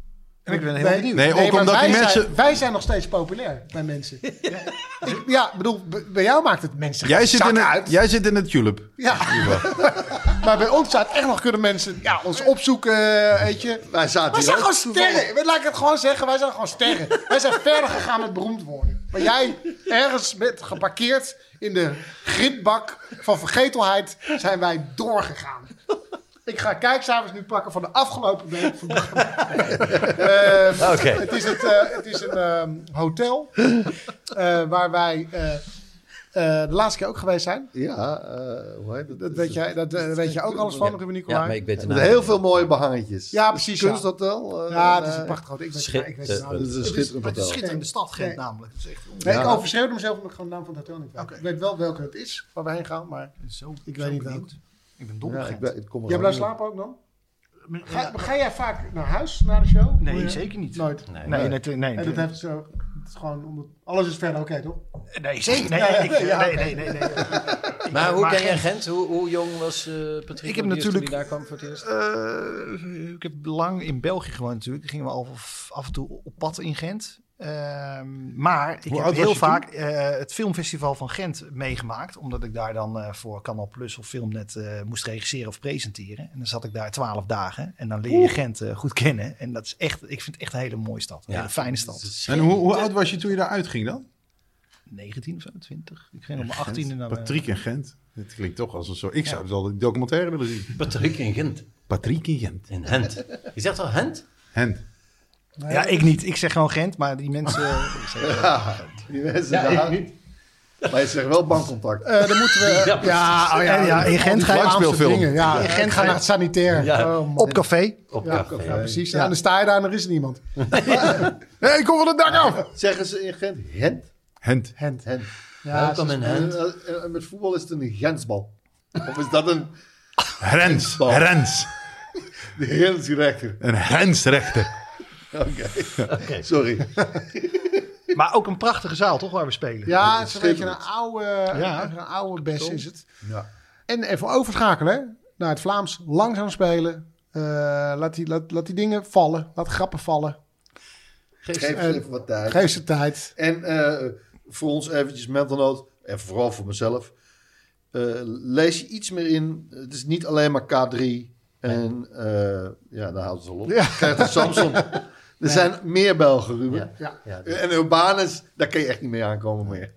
Speaker 7: En ik ben heel
Speaker 4: Nee.
Speaker 7: benieuwd.
Speaker 6: Nee, ook
Speaker 4: maar
Speaker 6: omdat
Speaker 4: wij,
Speaker 6: die mensen...
Speaker 4: zijn, wij zijn nog steeds populair bij mensen. ja, ik, ja, bedoel, b- bij jou maakt het mensen
Speaker 6: Jij zit, in
Speaker 4: zak
Speaker 6: het,
Speaker 4: uit.
Speaker 6: jij zit in het tulip.
Speaker 4: Ja. maar bij ons staat echt nog kunnen mensen ja, ons opzoeken, weet je.
Speaker 3: wij zaten
Speaker 4: Wij
Speaker 3: hier
Speaker 4: zijn
Speaker 3: ook
Speaker 4: gewoon
Speaker 3: toevallig.
Speaker 4: sterren. Laat ik het gewoon zeggen, wij zijn gewoon sterren. wij zijn verder gegaan met beroemd worden. Maar jij, ergens met, geparkeerd in de grindbak van vergetelheid, zijn wij doorgegaan. Ik ga kijkcijfers nu pakken van de afgelopen week. Van
Speaker 5: Oké.
Speaker 4: het is, het, eh, het is een ehm, hotel eh, waar wij eh, eh, de laatste keer ook geweest zijn.
Speaker 3: Ja, eh, hoe heet het?
Speaker 4: Dat weet jij, dat, eh, weet jij ook alles van, Ruben
Speaker 5: Ja,
Speaker 4: Nicolai.
Speaker 5: maar ik weet de
Speaker 3: Met
Speaker 5: naam.
Speaker 3: heel veel mooie behangetjes.
Speaker 4: Ja,
Speaker 3: Dus
Speaker 4: precies,
Speaker 3: Kunsthotel. eh,
Speaker 4: Ja, het
Speaker 3: en,
Speaker 4: is een
Speaker 3: eh,
Speaker 4: prachtig hotel. Ik weet,
Speaker 5: Schitterend.
Speaker 4: ik weet de naam
Speaker 3: Het nou
Speaker 4: niet.
Speaker 3: is een schitterend
Speaker 7: Het is een
Speaker 3: hotel.
Speaker 7: schitterende stad, Gent
Speaker 4: Nee.
Speaker 7: namelijk. Dat is echt
Speaker 4: Nee,
Speaker 3: Ja.
Speaker 4: ik overschreeuwde mezelf omdat ik gewoon de naam van het hotel niet weet.
Speaker 7: Oké.
Speaker 4: Ik weet wel welke het is, waar we heen gaan, maar...
Speaker 7: zo,
Speaker 4: Ik
Speaker 7: ik
Speaker 4: weet
Speaker 7: ben
Speaker 4: niet
Speaker 7: benieuwd. Ik ben dol op
Speaker 3: Ja, ik,
Speaker 7: Gent.
Speaker 3: ben- ik kom er
Speaker 4: Jij
Speaker 3: gewoon
Speaker 4: blijft
Speaker 3: niet op.
Speaker 4: slapen ook dan?
Speaker 7: Maar-
Speaker 4: Ga,
Speaker 7: ja,
Speaker 4: ga jij vaak naar huis, na de show?
Speaker 7: Nee,
Speaker 4: Doe je-
Speaker 7: zeker niet.
Speaker 4: Nooit?
Speaker 5: Nee.
Speaker 7: Nee, nee, nee, nee,
Speaker 4: En dat heeft zo... Het is gewoon omdat... Alles is verder oké, toch?
Speaker 7: nee, zeker. Nee, nee, ik-
Speaker 4: Ja,
Speaker 7: nee, nee, nee, nee.
Speaker 5: Maar hoe
Speaker 7: Maar
Speaker 5: ken jij
Speaker 7: Gent-
Speaker 5: Gent? Hoe, hoe jong was eh, Patrick
Speaker 7: Ik heb
Speaker 5: Lodiers toen
Speaker 7: natuurlijk-
Speaker 5: hij daar kwam voor het eerst?
Speaker 7: Eh, ik heb lang in België gewoond natuurlijk. Dan gingen we al af en toe op pad in Gent. Ehm, maar ik
Speaker 6: Hoe
Speaker 7: heb
Speaker 6: oud was
Speaker 7: heel
Speaker 6: je
Speaker 7: vaak eh, het filmfestival van Gent meegemaakt. Omdat ik daar dan eh, voor Canal Plus of Filmnet eh, moest regisseren of presenteren. En dan zat ik daar twaalf dagen. En dan leer je Gent eh, goed kennen. En dat is echt, ik vind het echt een hele mooie stad. Een
Speaker 5: Ja.
Speaker 7: hele fijne stad.
Speaker 6: En hoe, hoe oud was je toen je daar uitging dan?
Speaker 7: 19 of zo, 20. Ik ging op mijn 18e naar
Speaker 6: Nou, Patrick in Gent. Het klinkt toch als een soort... Ik zou het wel een documentaire willen zien.
Speaker 5: Patrick in Gent.
Speaker 6: Patrick in Gent.
Speaker 5: In Gent. Je zegt al Gent?
Speaker 6: Gent.
Speaker 7: Ja, ik niet. Ik zeg gewoon Gent, maar die mensen. eh, zeggen-
Speaker 3: Die mensen daar. Maar je zegt wel bankcontact.
Speaker 4: Eh dan moeten we...
Speaker 5: Ja,
Speaker 4: ja, oh ja,
Speaker 7: En ja, in Gent ga je
Speaker 4: Vlaamse
Speaker 6: Langspeelfilm.
Speaker 4: dingen, Ja,
Speaker 7: In
Speaker 4: in
Speaker 7: Gent
Speaker 4: Gent ga je naar het sanitair.
Speaker 5: Ja.
Speaker 4: Oh, man.
Speaker 7: op café.
Speaker 5: Op
Speaker 4: Ja,
Speaker 5: café.
Speaker 4: ja, precies. Ja, En dan sta je daar en er is niemand.
Speaker 6: Hé, hey, kom van het dak af!
Speaker 3: Zeggen ze in Gent Gent?
Speaker 6: Gent.
Speaker 4: Hent.
Speaker 3: Gent.
Speaker 4: Ja,
Speaker 5: Welkom in Gent.
Speaker 3: En, eh, en met voetbal is het een Gentsbal. Of is dat een
Speaker 6: Rens. Rens.
Speaker 3: Gentsrechter?
Speaker 6: Een Rensrechter.
Speaker 3: Oké, sorry.
Speaker 7: Maar ook een prachtige zaal, toch, waar we spelen?
Speaker 4: Ja, het is een beetje een
Speaker 3: Schitterend.
Speaker 4: oude,
Speaker 7: Ja.
Speaker 4: een oude best is het.
Speaker 3: Ja.
Speaker 4: En even overschakelen hè, naar het Vlaams. Langzaam spelen. Eh, laat, die, laat, laat die dingen vallen. Laat grappen vallen.
Speaker 3: Geef ze even wat tijd.
Speaker 4: Geef ze tijd.
Speaker 3: En eh, voor ons eventjes mental note, en vooral voor mezelf, eh, lees je iets meer in. Het is niet alleen maar K3 en En eh, ja, daar houdt ze al op. Krijgt een Samson. Er zijn meer Belgen, Ruben.
Speaker 4: Ja.
Speaker 2: Ja, dat-
Speaker 3: En Urbanus, daar kun je echt niet mee aankomen meer.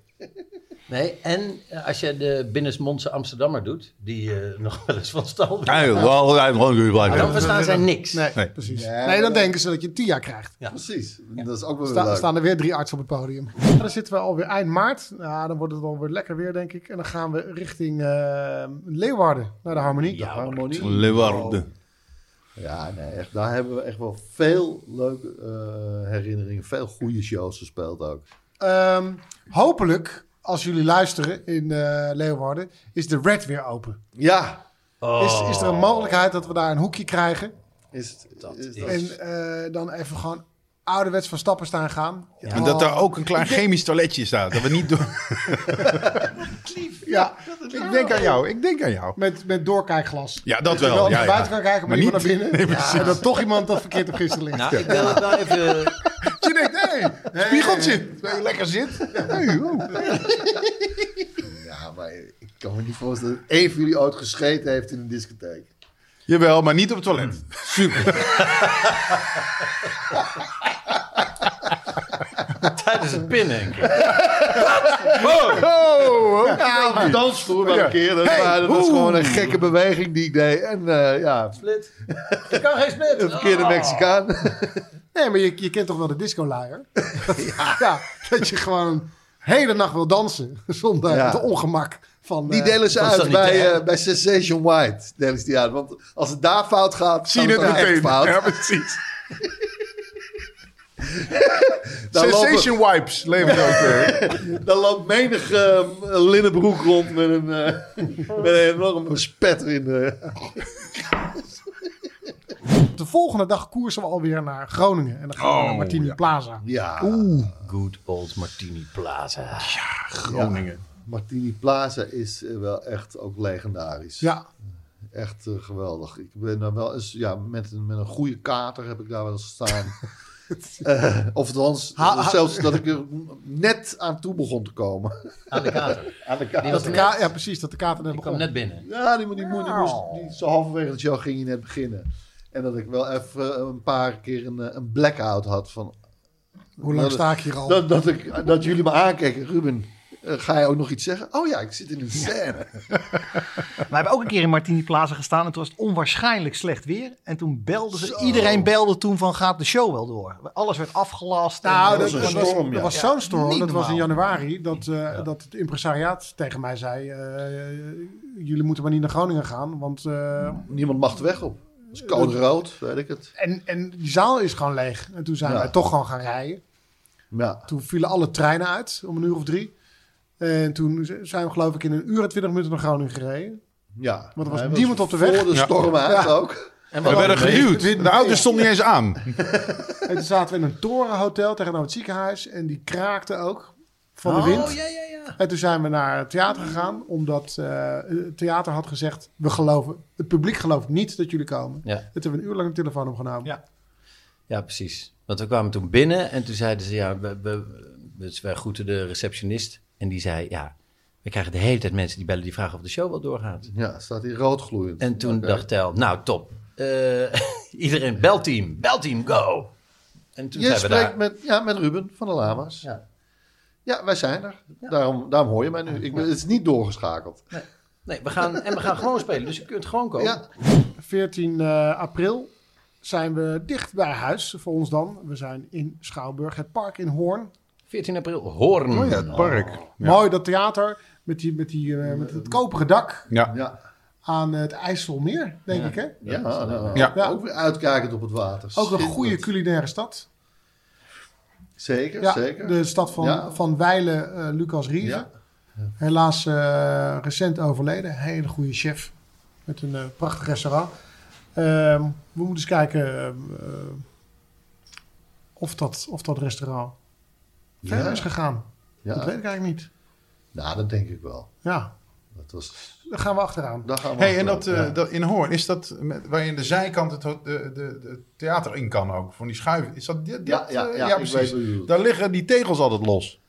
Speaker 2: Nee, en eh, als je de binnensmondse Amsterdammer doet, die eh, nog wel eens van stal wil, dan verstaan zij niks.
Speaker 4: Nee,
Speaker 6: Nee.
Speaker 4: precies.
Speaker 3: Nee,
Speaker 4: Nee, dan
Speaker 3: dat-
Speaker 4: denken ze dat je een TIA krijgt.
Speaker 3: Precies. Dat is ook wel weer
Speaker 4: Sta-
Speaker 3: leuk.
Speaker 4: staan er weer drie artsen op het podium. Ja, dan zitten we alweer eind maart. Nou, dan wordt het alweer lekker weer, denk ik. En dan gaan we richting eh, Leeuwarden, naar de Harmonie.
Speaker 3: De harmonie.
Speaker 6: Leeuwarden.
Speaker 3: Ja, nee, echt, daar hebben we echt wel veel leuke eh, herinneringen. Veel goede shows gespeeld ook.
Speaker 4: Ehm, hopelijk, als jullie luisteren in eh, Leeuwarden, is de Red weer open.
Speaker 3: Ja,
Speaker 4: Is, is er een mogelijkheid dat we daar een hoekje krijgen?
Speaker 3: is het. is dat-
Speaker 4: En eh, dan even gewoon ouderwets van stappen staan gaan. Ja,
Speaker 6: En dat daar ook een klein chemisch toiletje staat. Dat we niet door...
Speaker 4: Ja,
Speaker 6: Ik denk aan jou, ik denk aan jou.
Speaker 4: met, met doorkijkglas.
Speaker 6: Ja, dat
Speaker 4: je
Speaker 6: wel,
Speaker 4: naar
Speaker 6: ja,
Speaker 4: buiten
Speaker 6: ja.
Speaker 4: kan kijken, maar,
Speaker 6: Maar
Speaker 4: niet
Speaker 6: niet-
Speaker 4: naar binnen.
Speaker 6: Nee,
Speaker 4: Ja, en dat toch iemand dat verkeerd op gisteren ligt.
Speaker 5: Nou, ik wil het wel even...
Speaker 6: Je denkt, hé, hey, spiegeltje. Waar je lekker zit. Hey, oh.
Speaker 3: Ja, Ah, maar ik kan me niet voorstellen dat één van jullie ooit gescheten heeft in een discotheek.
Speaker 6: Jawel, maar niet op het toilet.
Speaker 5: Tijdens het pinnen, denk ik.
Speaker 6: Oh, Ah,
Speaker 3: Ja, op de dansvloer maar een keer. Dat, maar dat was gewoon een gekke beweging die ik deed. En eh, ja,
Speaker 2: Split. Ik kan geen split.
Speaker 3: een verkeerde Mexicaan.
Speaker 4: Nee, maar je, je kent toch wel de disco-luier? ja. dat je gewoon hele nacht wil dansen zonder
Speaker 3: Ja.
Speaker 4: het ongemak van...
Speaker 3: Die
Speaker 4: eh,
Speaker 3: delen ze
Speaker 5: dat is
Speaker 3: uit
Speaker 5: dan niet te
Speaker 3: bij, eh,
Speaker 5: hebben.
Speaker 3: bij Sensation White. Delen ze die uit. Want als het daar fout gaat,
Speaker 6: Zie je
Speaker 3: gaat
Speaker 6: het
Speaker 3: ook echt
Speaker 6: meteen.
Speaker 3: fout.
Speaker 6: Ja, precies.
Speaker 3: Daar lopen-
Speaker 6: Sensation wipes levert ook weer.
Speaker 3: Daar loopt menig eh, linnen broek rond met een, eh, met een enorme spetter in. de.
Speaker 4: De volgende dag koersen we alweer naar Groningen. En dan gaan we naar Martini Plaza.
Speaker 3: Oh, ja,
Speaker 5: Good old Martini Plaza.
Speaker 6: Groningen.
Speaker 3: Martini Plaza is eh, wel echt ook legendarisch.
Speaker 4: Ja,
Speaker 3: Echt eh, geweldig. Ik ben daar wel eens, ja, met een, met een goede kater heb ik daar wel eens gestaan. Eh, of althans,
Speaker 4: Ha- ha-
Speaker 3: zelfs dat ik er net aan toe begon te komen.
Speaker 2: Aan de kater.
Speaker 3: Aan de
Speaker 2: Die
Speaker 3: kater.
Speaker 2: was
Speaker 4: de
Speaker 2: er
Speaker 4: ka-
Speaker 2: net.
Speaker 4: ja precies, dat de kater net
Speaker 2: Die kwam
Speaker 4: begon. Nou.
Speaker 2: net binnen.
Speaker 3: Ja, die, die, moe- die moest, die, zo halverwege de show ging hij net beginnen. En dat ik wel even eh, een paar keer een, eh, een blackout had van...
Speaker 4: Hoe lang
Speaker 3: dat-
Speaker 4: sta ik hier al?
Speaker 3: Dat, dat, ik, dat jullie me aankijken. Ruben, eh, ga je ook nog iets zeggen? Oh ja, ik zit in een scène.
Speaker 7: Wij hebben ook een keer in Martini Plaza gestaan en toen was het onwaarschijnlijk slecht weer. En toen belden ze, iedereen belde toen van gaat de show wel door. Alles werd afgelast.
Speaker 4: nou,
Speaker 7: en,
Speaker 4: dat,
Speaker 3: was een
Speaker 4: dat was,
Speaker 3: storm, ja.
Speaker 4: dat was zo'n storm.
Speaker 7: Niet
Speaker 4: dat was in
Speaker 7: normaal.
Speaker 4: januari dat, eh, dat het impresariaat tegen mij zei... eh, jullie moeten maar niet naar Groningen gaan, want... eh,
Speaker 3: Niemand mag de weg op. Dat is code rood, weet ik het.
Speaker 4: en, en die zaal is gewoon leeg. En toen zijn
Speaker 3: Ja.
Speaker 4: wij toch gewoon gaan rijden.
Speaker 3: Ja.
Speaker 4: Toen vielen alle treinen uit om een uur of drie. En toen z- zijn we geloof ik in een uur en twintig minuten naar Groningen gereden.
Speaker 3: ja.
Speaker 4: Maar er was
Speaker 3: Hij
Speaker 4: niemand op de weg.
Speaker 3: Voor de
Speaker 6: Ja.
Speaker 3: storm uit ook.
Speaker 5: En
Speaker 6: We
Speaker 5: wat
Speaker 6: werden
Speaker 5: hadden we
Speaker 6: geduwd. De auto stond niet eens aan.
Speaker 4: En toen zaten we in een torenhotel tegenover het ziekenhuis. En die kraakte ook van de wind.
Speaker 2: Oh, ja, ja, ja.
Speaker 4: En toen zijn we naar het theater gegaan. Omdat eh, het theater had gezegd, we geloven, het publiek gelooft niet dat jullie komen.
Speaker 5: Ja.
Speaker 4: Dat hebben we een uur lang de telefoon opgenomen.
Speaker 7: Ja.
Speaker 5: Ja, precies. Want we kwamen toen binnen en toen zeiden ze, ja, we, we, dus wij groeten de receptionist. En die zei, ja, we krijgen de hele tijd mensen die bellen die vragen of de show wel doorgaat.
Speaker 3: Ja, staat hier rood gloeiend.
Speaker 5: En toen
Speaker 3: Oké.
Speaker 5: dacht Tel, nou top. Eh, iedereen, belteam, belteam, go. En toen
Speaker 3: Je
Speaker 5: zijn we daar.
Speaker 3: spreekt met, ja, met Ruben van de Lama's. Ja, wij zijn er. Daarom, daarom hoor je mij nu. Ik ben, het is niet doorgeschakeld.
Speaker 5: Nee, we gaan, en we gaan gewoon spelen, dus je kunt gewoon komen.
Speaker 3: Ja,
Speaker 4: 14 eh, april zijn we dicht bij huis, voor ons dan. We zijn in Schouwburg, het park in Hoorn.
Speaker 5: 14 april, Hoorn.
Speaker 6: Oh ja, het park. Ja.
Speaker 4: Mooi, dat theater met, die, met, die, eh, met het koperen dak
Speaker 6: Ja.
Speaker 3: ja,
Speaker 4: aan het IJsselmeer, denk ik. Hè?
Speaker 3: ja, nou,
Speaker 6: Ja.
Speaker 4: Ja.
Speaker 3: Ook weer uitkijkend op het water.
Speaker 4: Ook een
Speaker 3: Schitterend.
Speaker 4: goede culinaire stad.
Speaker 3: Zeker,
Speaker 4: Ja,
Speaker 3: zeker.
Speaker 4: De stad van,
Speaker 3: Ja.
Speaker 4: van Weilen, eh, Lucas Rieven.
Speaker 3: Ja.
Speaker 4: Helaas eh, recent overleden. Hele goede chef. Met een eh, prachtig restaurant. Ehm, we moeten eens kijken eh, eh, of, dat, of dat restaurant verder
Speaker 3: Ja.
Speaker 4: is gegaan.
Speaker 3: Ja.
Speaker 4: Dat weet ik eigenlijk niet.
Speaker 3: Nou, dat denk ik wel.
Speaker 4: Ja,
Speaker 3: Dat was,
Speaker 4: daar gaan we achteraan.
Speaker 3: daar gaan we
Speaker 6: Hey, en
Speaker 3: achteraan.
Speaker 6: dat, eh, dat in Hoorn, is dat met, waar je in de zijkant het ho- de, de, de theater in kan ook? Van die schuiven. Is dat dit?
Speaker 3: Ja,
Speaker 6: dat,
Speaker 3: ja,
Speaker 6: eh,
Speaker 3: ja, ik weet wat je bedoelt.
Speaker 6: Daar liggen die tegels altijd los.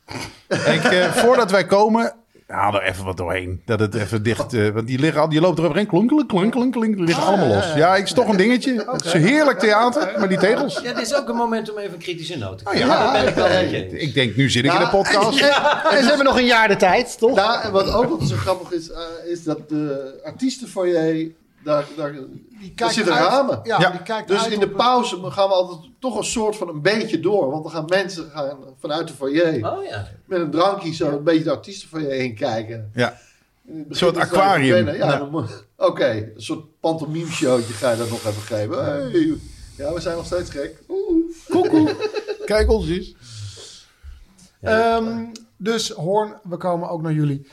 Speaker 6: ik, eh, voordat wij komen, Haal er even wat doorheen. Dat het even dicht... eh, want die liggen al, je loopt er overheen. Klonk, klonk, klonk, klonk. Die liggen allemaal los. Ja, ik is toch een dingetje. Het is een heerlijk theater, maar die tegels...
Speaker 5: Ja, dit is ook een moment om even een kritische noot te
Speaker 6: Oh
Speaker 5: krijgen.
Speaker 6: ja,
Speaker 5: dat ben ik wel met je eens.
Speaker 6: ik denk, nu zit ik in de
Speaker 3: Ja,
Speaker 6: podcast.
Speaker 3: En ze hebben nog
Speaker 7: Een jaar de tijd, toch?
Speaker 3: Ja, en wat ook nog zo grappig is, eh, is dat de artiestenfoyer, daar, daar,
Speaker 4: Die
Speaker 3: daar
Speaker 4: kijkt
Speaker 3: zitten
Speaker 4: uit-
Speaker 3: ramen.
Speaker 4: Ja,
Speaker 6: Ja.
Speaker 4: die kijkt
Speaker 3: Dus
Speaker 4: uit
Speaker 3: in de
Speaker 4: op-
Speaker 3: pauze gaan we altijd toch een soort van een beetje door. Want dan gaan mensen gaan vanuit de foyer
Speaker 5: Oh ja.
Speaker 3: met een drankje zo een beetje de artiestenfoyer heen kijken.
Speaker 6: Ja.
Speaker 3: In het begin
Speaker 6: Een soort
Speaker 3: is het wel even
Speaker 6: aquarium.
Speaker 3: wennen. Ja,
Speaker 6: Ja.
Speaker 3: dan moet- Oké, een soort pantomime showtje ga je dat nog even geven. Hey, Ja, we zijn nog steeds gek. Oeh.
Speaker 6: Kijk ons eens.
Speaker 4: Ehm, dus Hoorn, we komen ook naar jullie.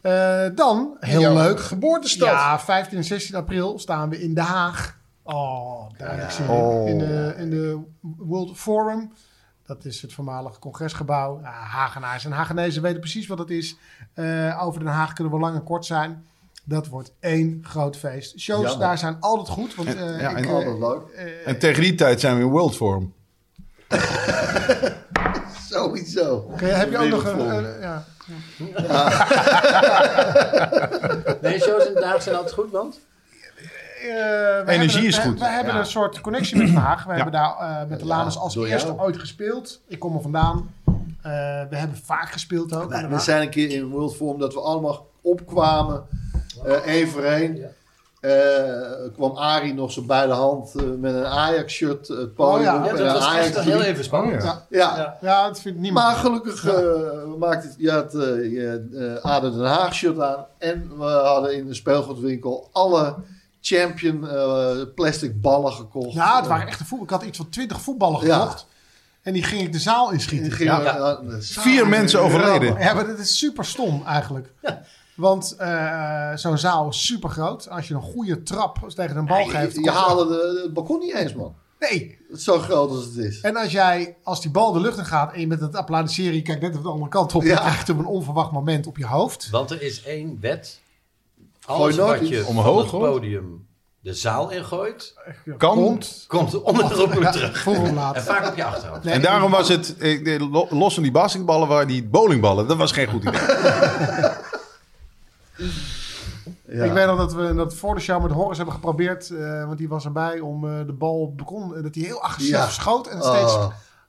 Speaker 4: Eh, dan, heel leuk, geboortestad. Ja, 15 en 16 april staan we in Den Haag. Oh, duidelijk zien. In, de, in de World Forum. Dat is het voormalige congresgebouw. Ja, Hagenaars en Hagenezen weten precies wat het is. Eh, over Den Haag kunnen we lang en kort zijn. Dat wordt één groot feest. Shows
Speaker 3: Jammer.
Speaker 4: daar zijn altijd goed. Want, eh,
Speaker 6: ja,
Speaker 4: ik,
Speaker 6: en
Speaker 4: eh,
Speaker 3: Altijd leuk.
Speaker 6: En tegen die tijd zijn we in World Forum.
Speaker 3: Sowieso.
Speaker 4: kun je- heb je ook nog een...
Speaker 3: Wereldvorm.
Speaker 4: eh, ja.
Speaker 5: Nee, shows in Den Haag zijn altijd goed, want...
Speaker 4: Eh, we
Speaker 6: Energie
Speaker 4: hebben,
Speaker 6: is
Speaker 4: we-
Speaker 6: goed.
Speaker 4: We, hebben een soort connectie met Den Haag. We hebben daar eh, met de
Speaker 3: Ja,
Speaker 4: Lamas als
Speaker 3: door
Speaker 4: eerste
Speaker 3: jou.
Speaker 4: ooit gespeeld. Ik kom er vandaan. Eh, we hebben vaak gespeeld
Speaker 3: Nou,
Speaker 4: ook.
Speaker 3: We,
Speaker 4: in Den
Speaker 3: we
Speaker 4: Haag.
Speaker 3: zijn een keer in World Forum dat we allemaal opkwamen, eh één voor één. Eh, kwam Arie nog zo bij de hand eh, met een Ajax-shirt het podium
Speaker 4: ja.
Speaker 3: op
Speaker 4: Ja,
Speaker 5: Ja,
Speaker 3: en een
Speaker 5: dat was echt
Speaker 3: Ajax
Speaker 5: wel heel even
Speaker 6: oh
Speaker 5: spannend.
Speaker 4: Ja.
Speaker 3: ja.
Speaker 4: Ja, dat vindt niemand.
Speaker 3: maar gelukkig eh, maakte het, je had eh, je eh, ADO Den Haag-shirt aan en we hadden in de speelgoedwinkel alle Champion eh, plastic ballen gekocht.
Speaker 4: ja, het waren echt een voetbal. Ik had iets van twintig voetballen
Speaker 3: Ja.
Speaker 4: gekocht. En die ging ik de zaal
Speaker 3: Die
Speaker 4: inschieten.
Speaker 3: gingen
Speaker 5: Ja.
Speaker 3: aan de zaal.
Speaker 6: Vier mensen overleden.
Speaker 4: Ja, maar dat is super stom eigenlijk. Want eh, zo'n zaal is super groot. Als je een goede trap tegen een bal
Speaker 3: Je,
Speaker 4: geeft.
Speaker 3: je
Speaker 4: komt-
Speaker 3: haalde de, het balkon niet eens, man.
Speaker 4: Nee,
Speaker 3: Zo groot als het is.
Speaker 4: En als jij, als die bal de lucht in gaat en je bent aan het applaudisseren, je kijkt net even de andere kant op,
Speaker 3: Ja.
Speaker 4: je krijgt op een onverwacht moment op je hoofd.
Speaker 5: Want er is één wet.
Speaker 3: Gooi
Speaker 5: Alles
Speaker 3: nooit
Speaker 5: wat je
Speaker 3: iets
Speaker 6: omhoog,
Speaker 5: van
Speaker 6: hoor.
Speaker 5: het podium de zaal ingooit,
Speaker 6: Kan. Oh,
Speaker 5: komt onherroepelijk terug.
Speaker 4: Vroeg of
Speaker 5: En
Speaker 4: laat.
Speaker 5: vaak op je achterhoofd.
Speaker 4: Nee,
Speaker 6: En daarom was het, eh, de lo- los van die basketballen, waren die bowlingballen. Dat was geen goed idee.
Speaker 3: Ja.
Speaker 4: Ik weet nog dat we dat voor de show met Horus hebben geprobeerd, eh, want die was erbij om eh, de bal op balkon, eh, dat hij heel agressief
Speaker 3: Ja.
Speaker 4: schoot en steeds
Speaker 3: Oh.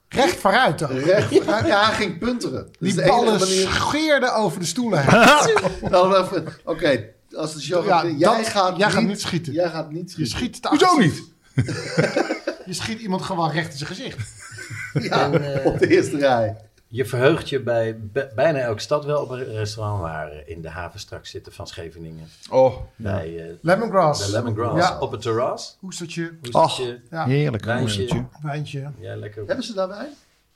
Speaker 4: recht vooruit. ook.
Speaker 3: Recht, ja. hij ging punteren. Dat is
Speaker 4: Die
Speaker 3: Dus de enige
Speaker 4: ballen
Speaker 3: manier-
Speaker 4: scheerden over de stoelen heen.
Speaker 3: Nou, dan even- Oké, als de show
Speaker 4: Ja,
Speaker 3: gaat, jij,
Speaker 4: dat-
Speaker 3: gaat,
Speaker 4: jij
Speaker 3: niet,
Speaker 4: gaat niet schieten.
Speaker 3: Jij gaat niet
Speaker 4: Je
Speaker 3: schieten.
Speaker 4: schiet, te
Speaker 6: Hoezo
Speaker 4: agressief.
Speaker 6: niet?
Speaker 4: Je schiet iemand gewoon recht in zijn gezicht.
Speaker 3: Ja, op de eerste rij.
Speaker 5: Je verheugt je bij b- bijna elke stad wel op een restaurant waar eh, in de haven straks zitten van Scheveningen.
Speaker 6: Oh,
Speaker 5: Bij eh,
Speaker 4: Lemongrass.
Speaker 5: de Lemongrass
Speaker 4: Ja.
Speaker 5: op het terras.
Speaker 4: Hoestertje,
Speaker 7: Ach,
Speaker 5: Hoestertje,
Speaker 4: Ja.
Speaker 7: heerlijk.
Speaker 5: wijntje.
Speaker 4: wijntje.
Speaker 5: Ja, lekker.
Speaker 3: Hebben ze daarbij?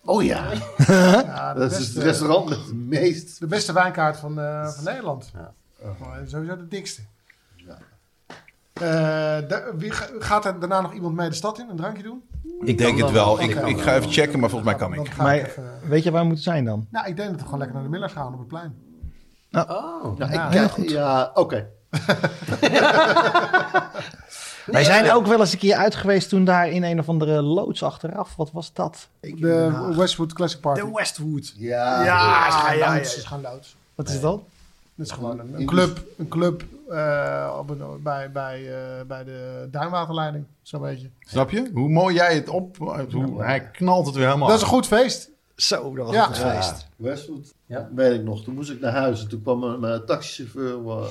Speaker 7: Oh ja.
Speaker 4: Ja, de
Speaker 3: Dat is
Speaker 4: beste-
Speaker 3: het restaurant met de meest...
Speaker 4: De beste wijnkaart van, eh, van Nederland.
Speaker 5: Ja.
Speaker 4: Maar Sowieso de dikste. Eh, da- wie ga- gaat er daarna nog iemand mee de stad in? Een drankje doen?
Speaker 6: ik denk het wel. Ik,
Speaker 4: Oké.
Speaker 6: ik ga even checken, maar volgens mij kan
Speaker 4: Dan ga
Speaker 6: ik.
Speaker 4: ik
Speaker 7: Maar
Speaker 4: even...
Speaker 7: weet je waar we moeten zijn dan?
Speaker 4: Nou, ik denk dat we gewoon lekker naar de Millers gaan op het plein.
Speaker 5: Oh.
Speaker 3: Ja,
Speaker 4: Ja,
Speaker 3: Nou, ik
Speaker 4: heel
Speaker 3: kijk- ja oké.
Speaker 7: Wij zijn ook wel eens een keer uit geweest toen daar in een of andere loods achteraf. Wat was dat?
Speaker 4: De Westwood Classic Park.
Speaker 8: De Westwood.
Speaker 3: Ja,
Speaker 8: Ja, ja, ja, ja.
Speaker 4: is gewoon loods.
Speaker 7: Wat is dat?
Speaker 4: Dat is gewoon een, een club, een club eh, op een, bij, bij, eh, bij de duinwaterleiding. Zo'n beetje.
Speaker 6: Snap je? Hoe mooi jij het op... Hoe, hij knalt het weer helemaal.
Speaker 4: Dat is een goed feest.
Speaker 7: Zo, dat was
Speaker 4: Ja.
Speaker 7: een goed feest.
Speaker 3: Westwood.
Speaker 5: Ja.
Speaker 3: Weet ik nog. Toen moest ik naar huis en toen kwam een, eh, taxichauffeur eh,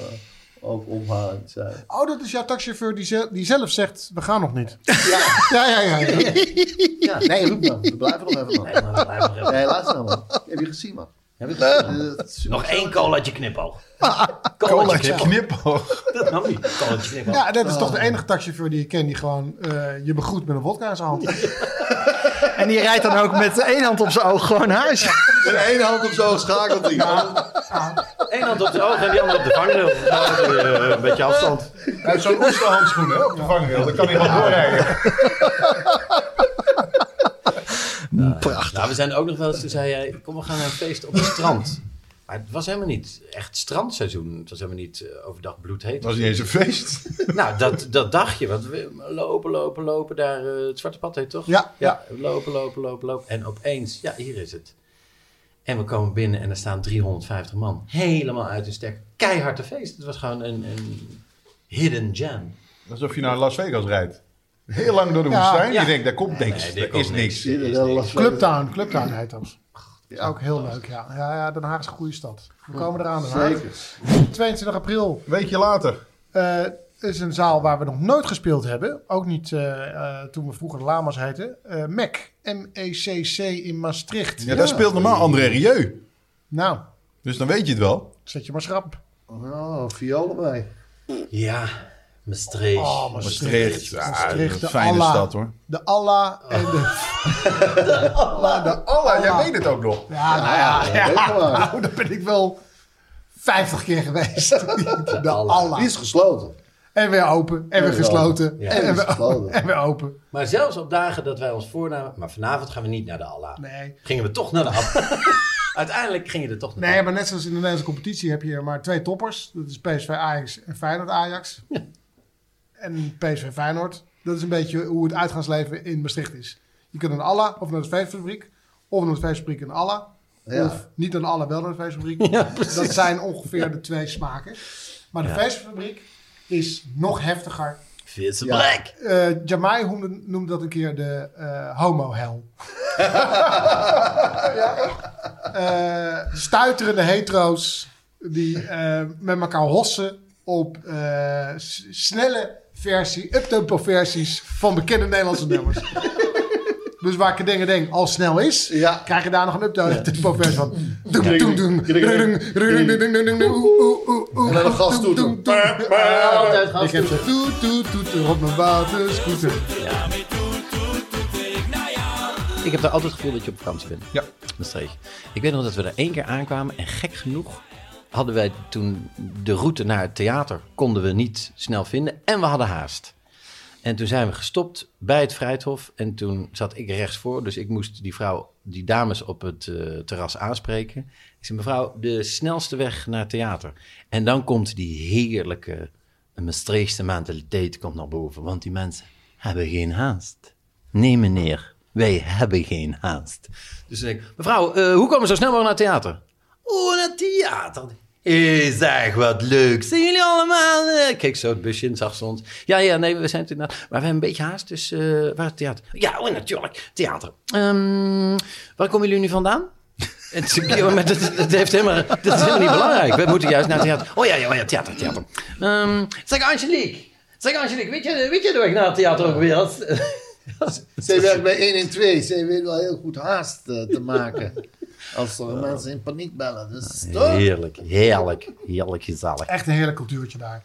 Speaker 3: ook omhalen. Die zei,
Speaker 4: Oh, dat is jouw taxichauffeur die, ze- die zelf zegt, we gaan nog niet. Ja, ja, ja. ja.
Speaker 3: ja, nee, roep nou. We blijven nog even
Speaker 5: Nee,
Speaker 3: man.
Speaker 5: maar blijf nog even.
Speaker 3: Nee, laat nou man. Heb je gezien man?
Speaker 5: Heb ik het gezien?
Speaker 3: Eh, dat is
Speaker 5: Nog één colaatje knipoog.
Speaker 6: Colaatje
Speaker 5: Colaatje knipoog.
Speaker 6: knipoog.
Speaker 5: Dat nam niet. Colaatje knipoog.
Speaker 4: Ja, dat is toch de enige taxichauffeur die je kent die gewoon eh, je begroet met een vodka in zijn hand.
Speaker 7: En die rijdt dan ook met één hand op zijn oog gewoon naar huis.
Speaker 3: Met één hand op zo schakelt hij.
Speaker 5: Eén hand op de ogen en die andere op de vangrail. Nou, eh, Een beetje afstand.
Speaker 6: Hij heeft zo'n oesterhandschoen hè, op de vangrail. Dan kan hij gewoon doorrijden.
Speaker 7: Prachtig.
Speaker 5: Nou, we zijn ook nog wel eens, toen zei jij, kom we gaan naar een feest op het strand. Maar het was helemaal niet echt strandseizoen. Het was helemaal niet eh, overdag bloedheet.
Speaker 6: Dat was niet eens een feest.
Speaker 5: Nou, dat, dat dacht je. Want we lopen, lopen, lopen daar. eh, het Zwarte Pad heet toch?
Speaker 4: Ja, ja.
Speaker 5: Lopen, lopen, lopen, lopen. En opeens, ja, hier is het. En we komen binnen en er staan 350 man. Helemaal uit hun sterk. Keihard te feest. Het was gewoon een, een hidden jam.
Speaker 6: Alsof je naar Las Vegas rijdt. Heel lang door de woestijn.
Speaker 5: Ja.
Speaker 6: Je denkt, daar komt
Speaker 5: Nee,
Speaker 6: niks.
Speaker 5: nee,
Speaker 6: Er
Speaker 5: daar
Speaker 6: is
Speaker 5: komt niks.
Speaker 6: niks.
Speaker 5: Er is niks.
Speaker 4: Clubtown, Clubtown heet dat. Ja, ook heel leuk, ja. ja. Ja, Den Haag is een goede stad. We komen eraan. Den Haag. 22 april
Speaker 6: Een weekje later.
Speaker 4: eh is een zaal waar we nog nooit gespeeld hebben. Ook niet eh, eh, toen we vroeger de Lama's heten. Eh MEC, M-E-C-C E in Maastricht.
Speaker 6: Ja, daar speelt normaal André Rieu.
Speaker 4: Nou,
Speaker 6: Dus dan weet je het wel.
Speaker 4: zet je maar schrap.
Speaker 3: Oh, violen bij.
Speaker 5: Ja, Maastricht.
Speaker 4: Oh,
Speaker 6: Maastricht. Ja,
Speaker 4: Maastricht, de
Speaker 6: een fijne
Speaker 4: Allah.
Speaker 6: stad hoor.
Speaker 4: De Allah en de...
Speaker 6: Allah, jij weet het ook nog.
Speaker 4: Ja, nou ja,
Speaker 3: Ja, weet je maar.
Speaker 4: nou, daar ben ik wel 50 keer geweest. De
Speaker 5: Allah.
Speaker 4: Allah.
Speaker 3: Die is gesloten.
Speaker 4: En weer open, en weer
Speaker 3: Ja.
Speaker 4: gesloten,
Speaker 5: Ja.
Speaker 4: en,
Speaker 3: Die is
Speaker 4: weer,
Speaker 3: gesloten.
Speaker 4: en weer open.
Speaker 5: Maar zelfs op dagen dat wij ons voornamen... Maar vanavond gaan we niet naar de Allah.
Speaker 4: Nee.
Speaker 5: Gingen we toch naar de Allah. Uiteindelijk ging je er toch naar
Speaker 4: Nee,
Speaker 5: de
Speaker 4: maar net zoals in de Nederlandse competitie heb je maar twee toppers. Dat is PSV Ajax en Feyenoord Ajax. En PSV Feyenoord. Dat is een beetje hoe het uitgaansleven in Maastricht is. e- Je kunt naar Allah of naar de feestfabriek. Of naar de feestfabriek en Allah.
Speaker 3: Ja.
Speaker 4: Of niet aan alle, wel naar de feestfabriek. dat zijn ongeveer de twee smaken. Maar de feestfabriek is nog heftiger.
Speaker 5: Vitse
Speaker 3: Ja.
Speaker 5: Black.
Speaker 4: Eh Jamai noemde, noemde dat een keer de eh homo-hell. ja. Eh, stuiterende hetero's die eh, met elkaar hossen op eh, s- snelle versie, uptempo versies van bekende Nederlandse nummers. dus waar ik dingen denk, al snel is,
Speaker 3: Ja.
Speaker 4: krijg je daar nog een uptempo versie van. Doem, doem, doem, doem, doem, doem, doem, doem, doem, doem, doem, oeh, oeh, oeh, oeh,
Speaker 3: En dan een gas toe
Speaker 4: doem,
Speaker 3: doen.
Speaker 4: doem, doem.
Speaker 5: Altijd gas
Speaker 4: Ik heb zo toet, toet, toet op mijn waterscooter.
Speaker 5: Ik heb daar altijd het gevoel dat je op vakantie bent.
Speaker 6: Ja.
Speaker 5: Maastricht. Ik weet nog dat we er één keer aankwamen en gek genoeg hadden wij toen de route naar het theater konden we niet snel vinden en we hadden haast. En toen zijn we gestopt bij het Vrijthof en toen zat ik rechts voor, dus ik moest die vrouw, die dames op het eh, terras aanspreken. Ik zei mevrouw, de snelste weg naar het theater. En dan komt die heerlijke Maastrichtse mentaliteit komt naar boven, want die mensen hebben geen haast. Nee, meneer, wij hebben geen haast. Dus dan denk ik, mevrouw, eh, hoe komen we zo snel mogelijk naar het theater? Oh, naar het theater. Is echt wat leuk. Zien jullie allemaal? eh?" Ik keek zo het busje in, zag ze ons. Ja, ja, nee, we zijn natuurlijk... Maar we hebben een beetje haast, dus eh, waar het theater? Ja, oh, natuurlijk, theater. Ehm, waar komen jullie nu vandaan? Het, is- ja, maar dat, dat, heeft helemaal, dat is helemaal niet belangrijk. We moeten juist naar het theater. Oh ja, ja, ja theater, theater. Ehm, zeg Angelique. Zeg Angelique, weet je, weet je de weg naar het theater ook weer?
Speaker 3: Zij werkt bij 1 en 2. Zij weet wel heel goed haast eh, te maken. Als er mensen in paniek bellen. Dus toch?
Speaker 5: Heerlijk, heerlijk, heerlijk gezellig.
Speaker 4: Echt een heerlijk cultuurtje daar.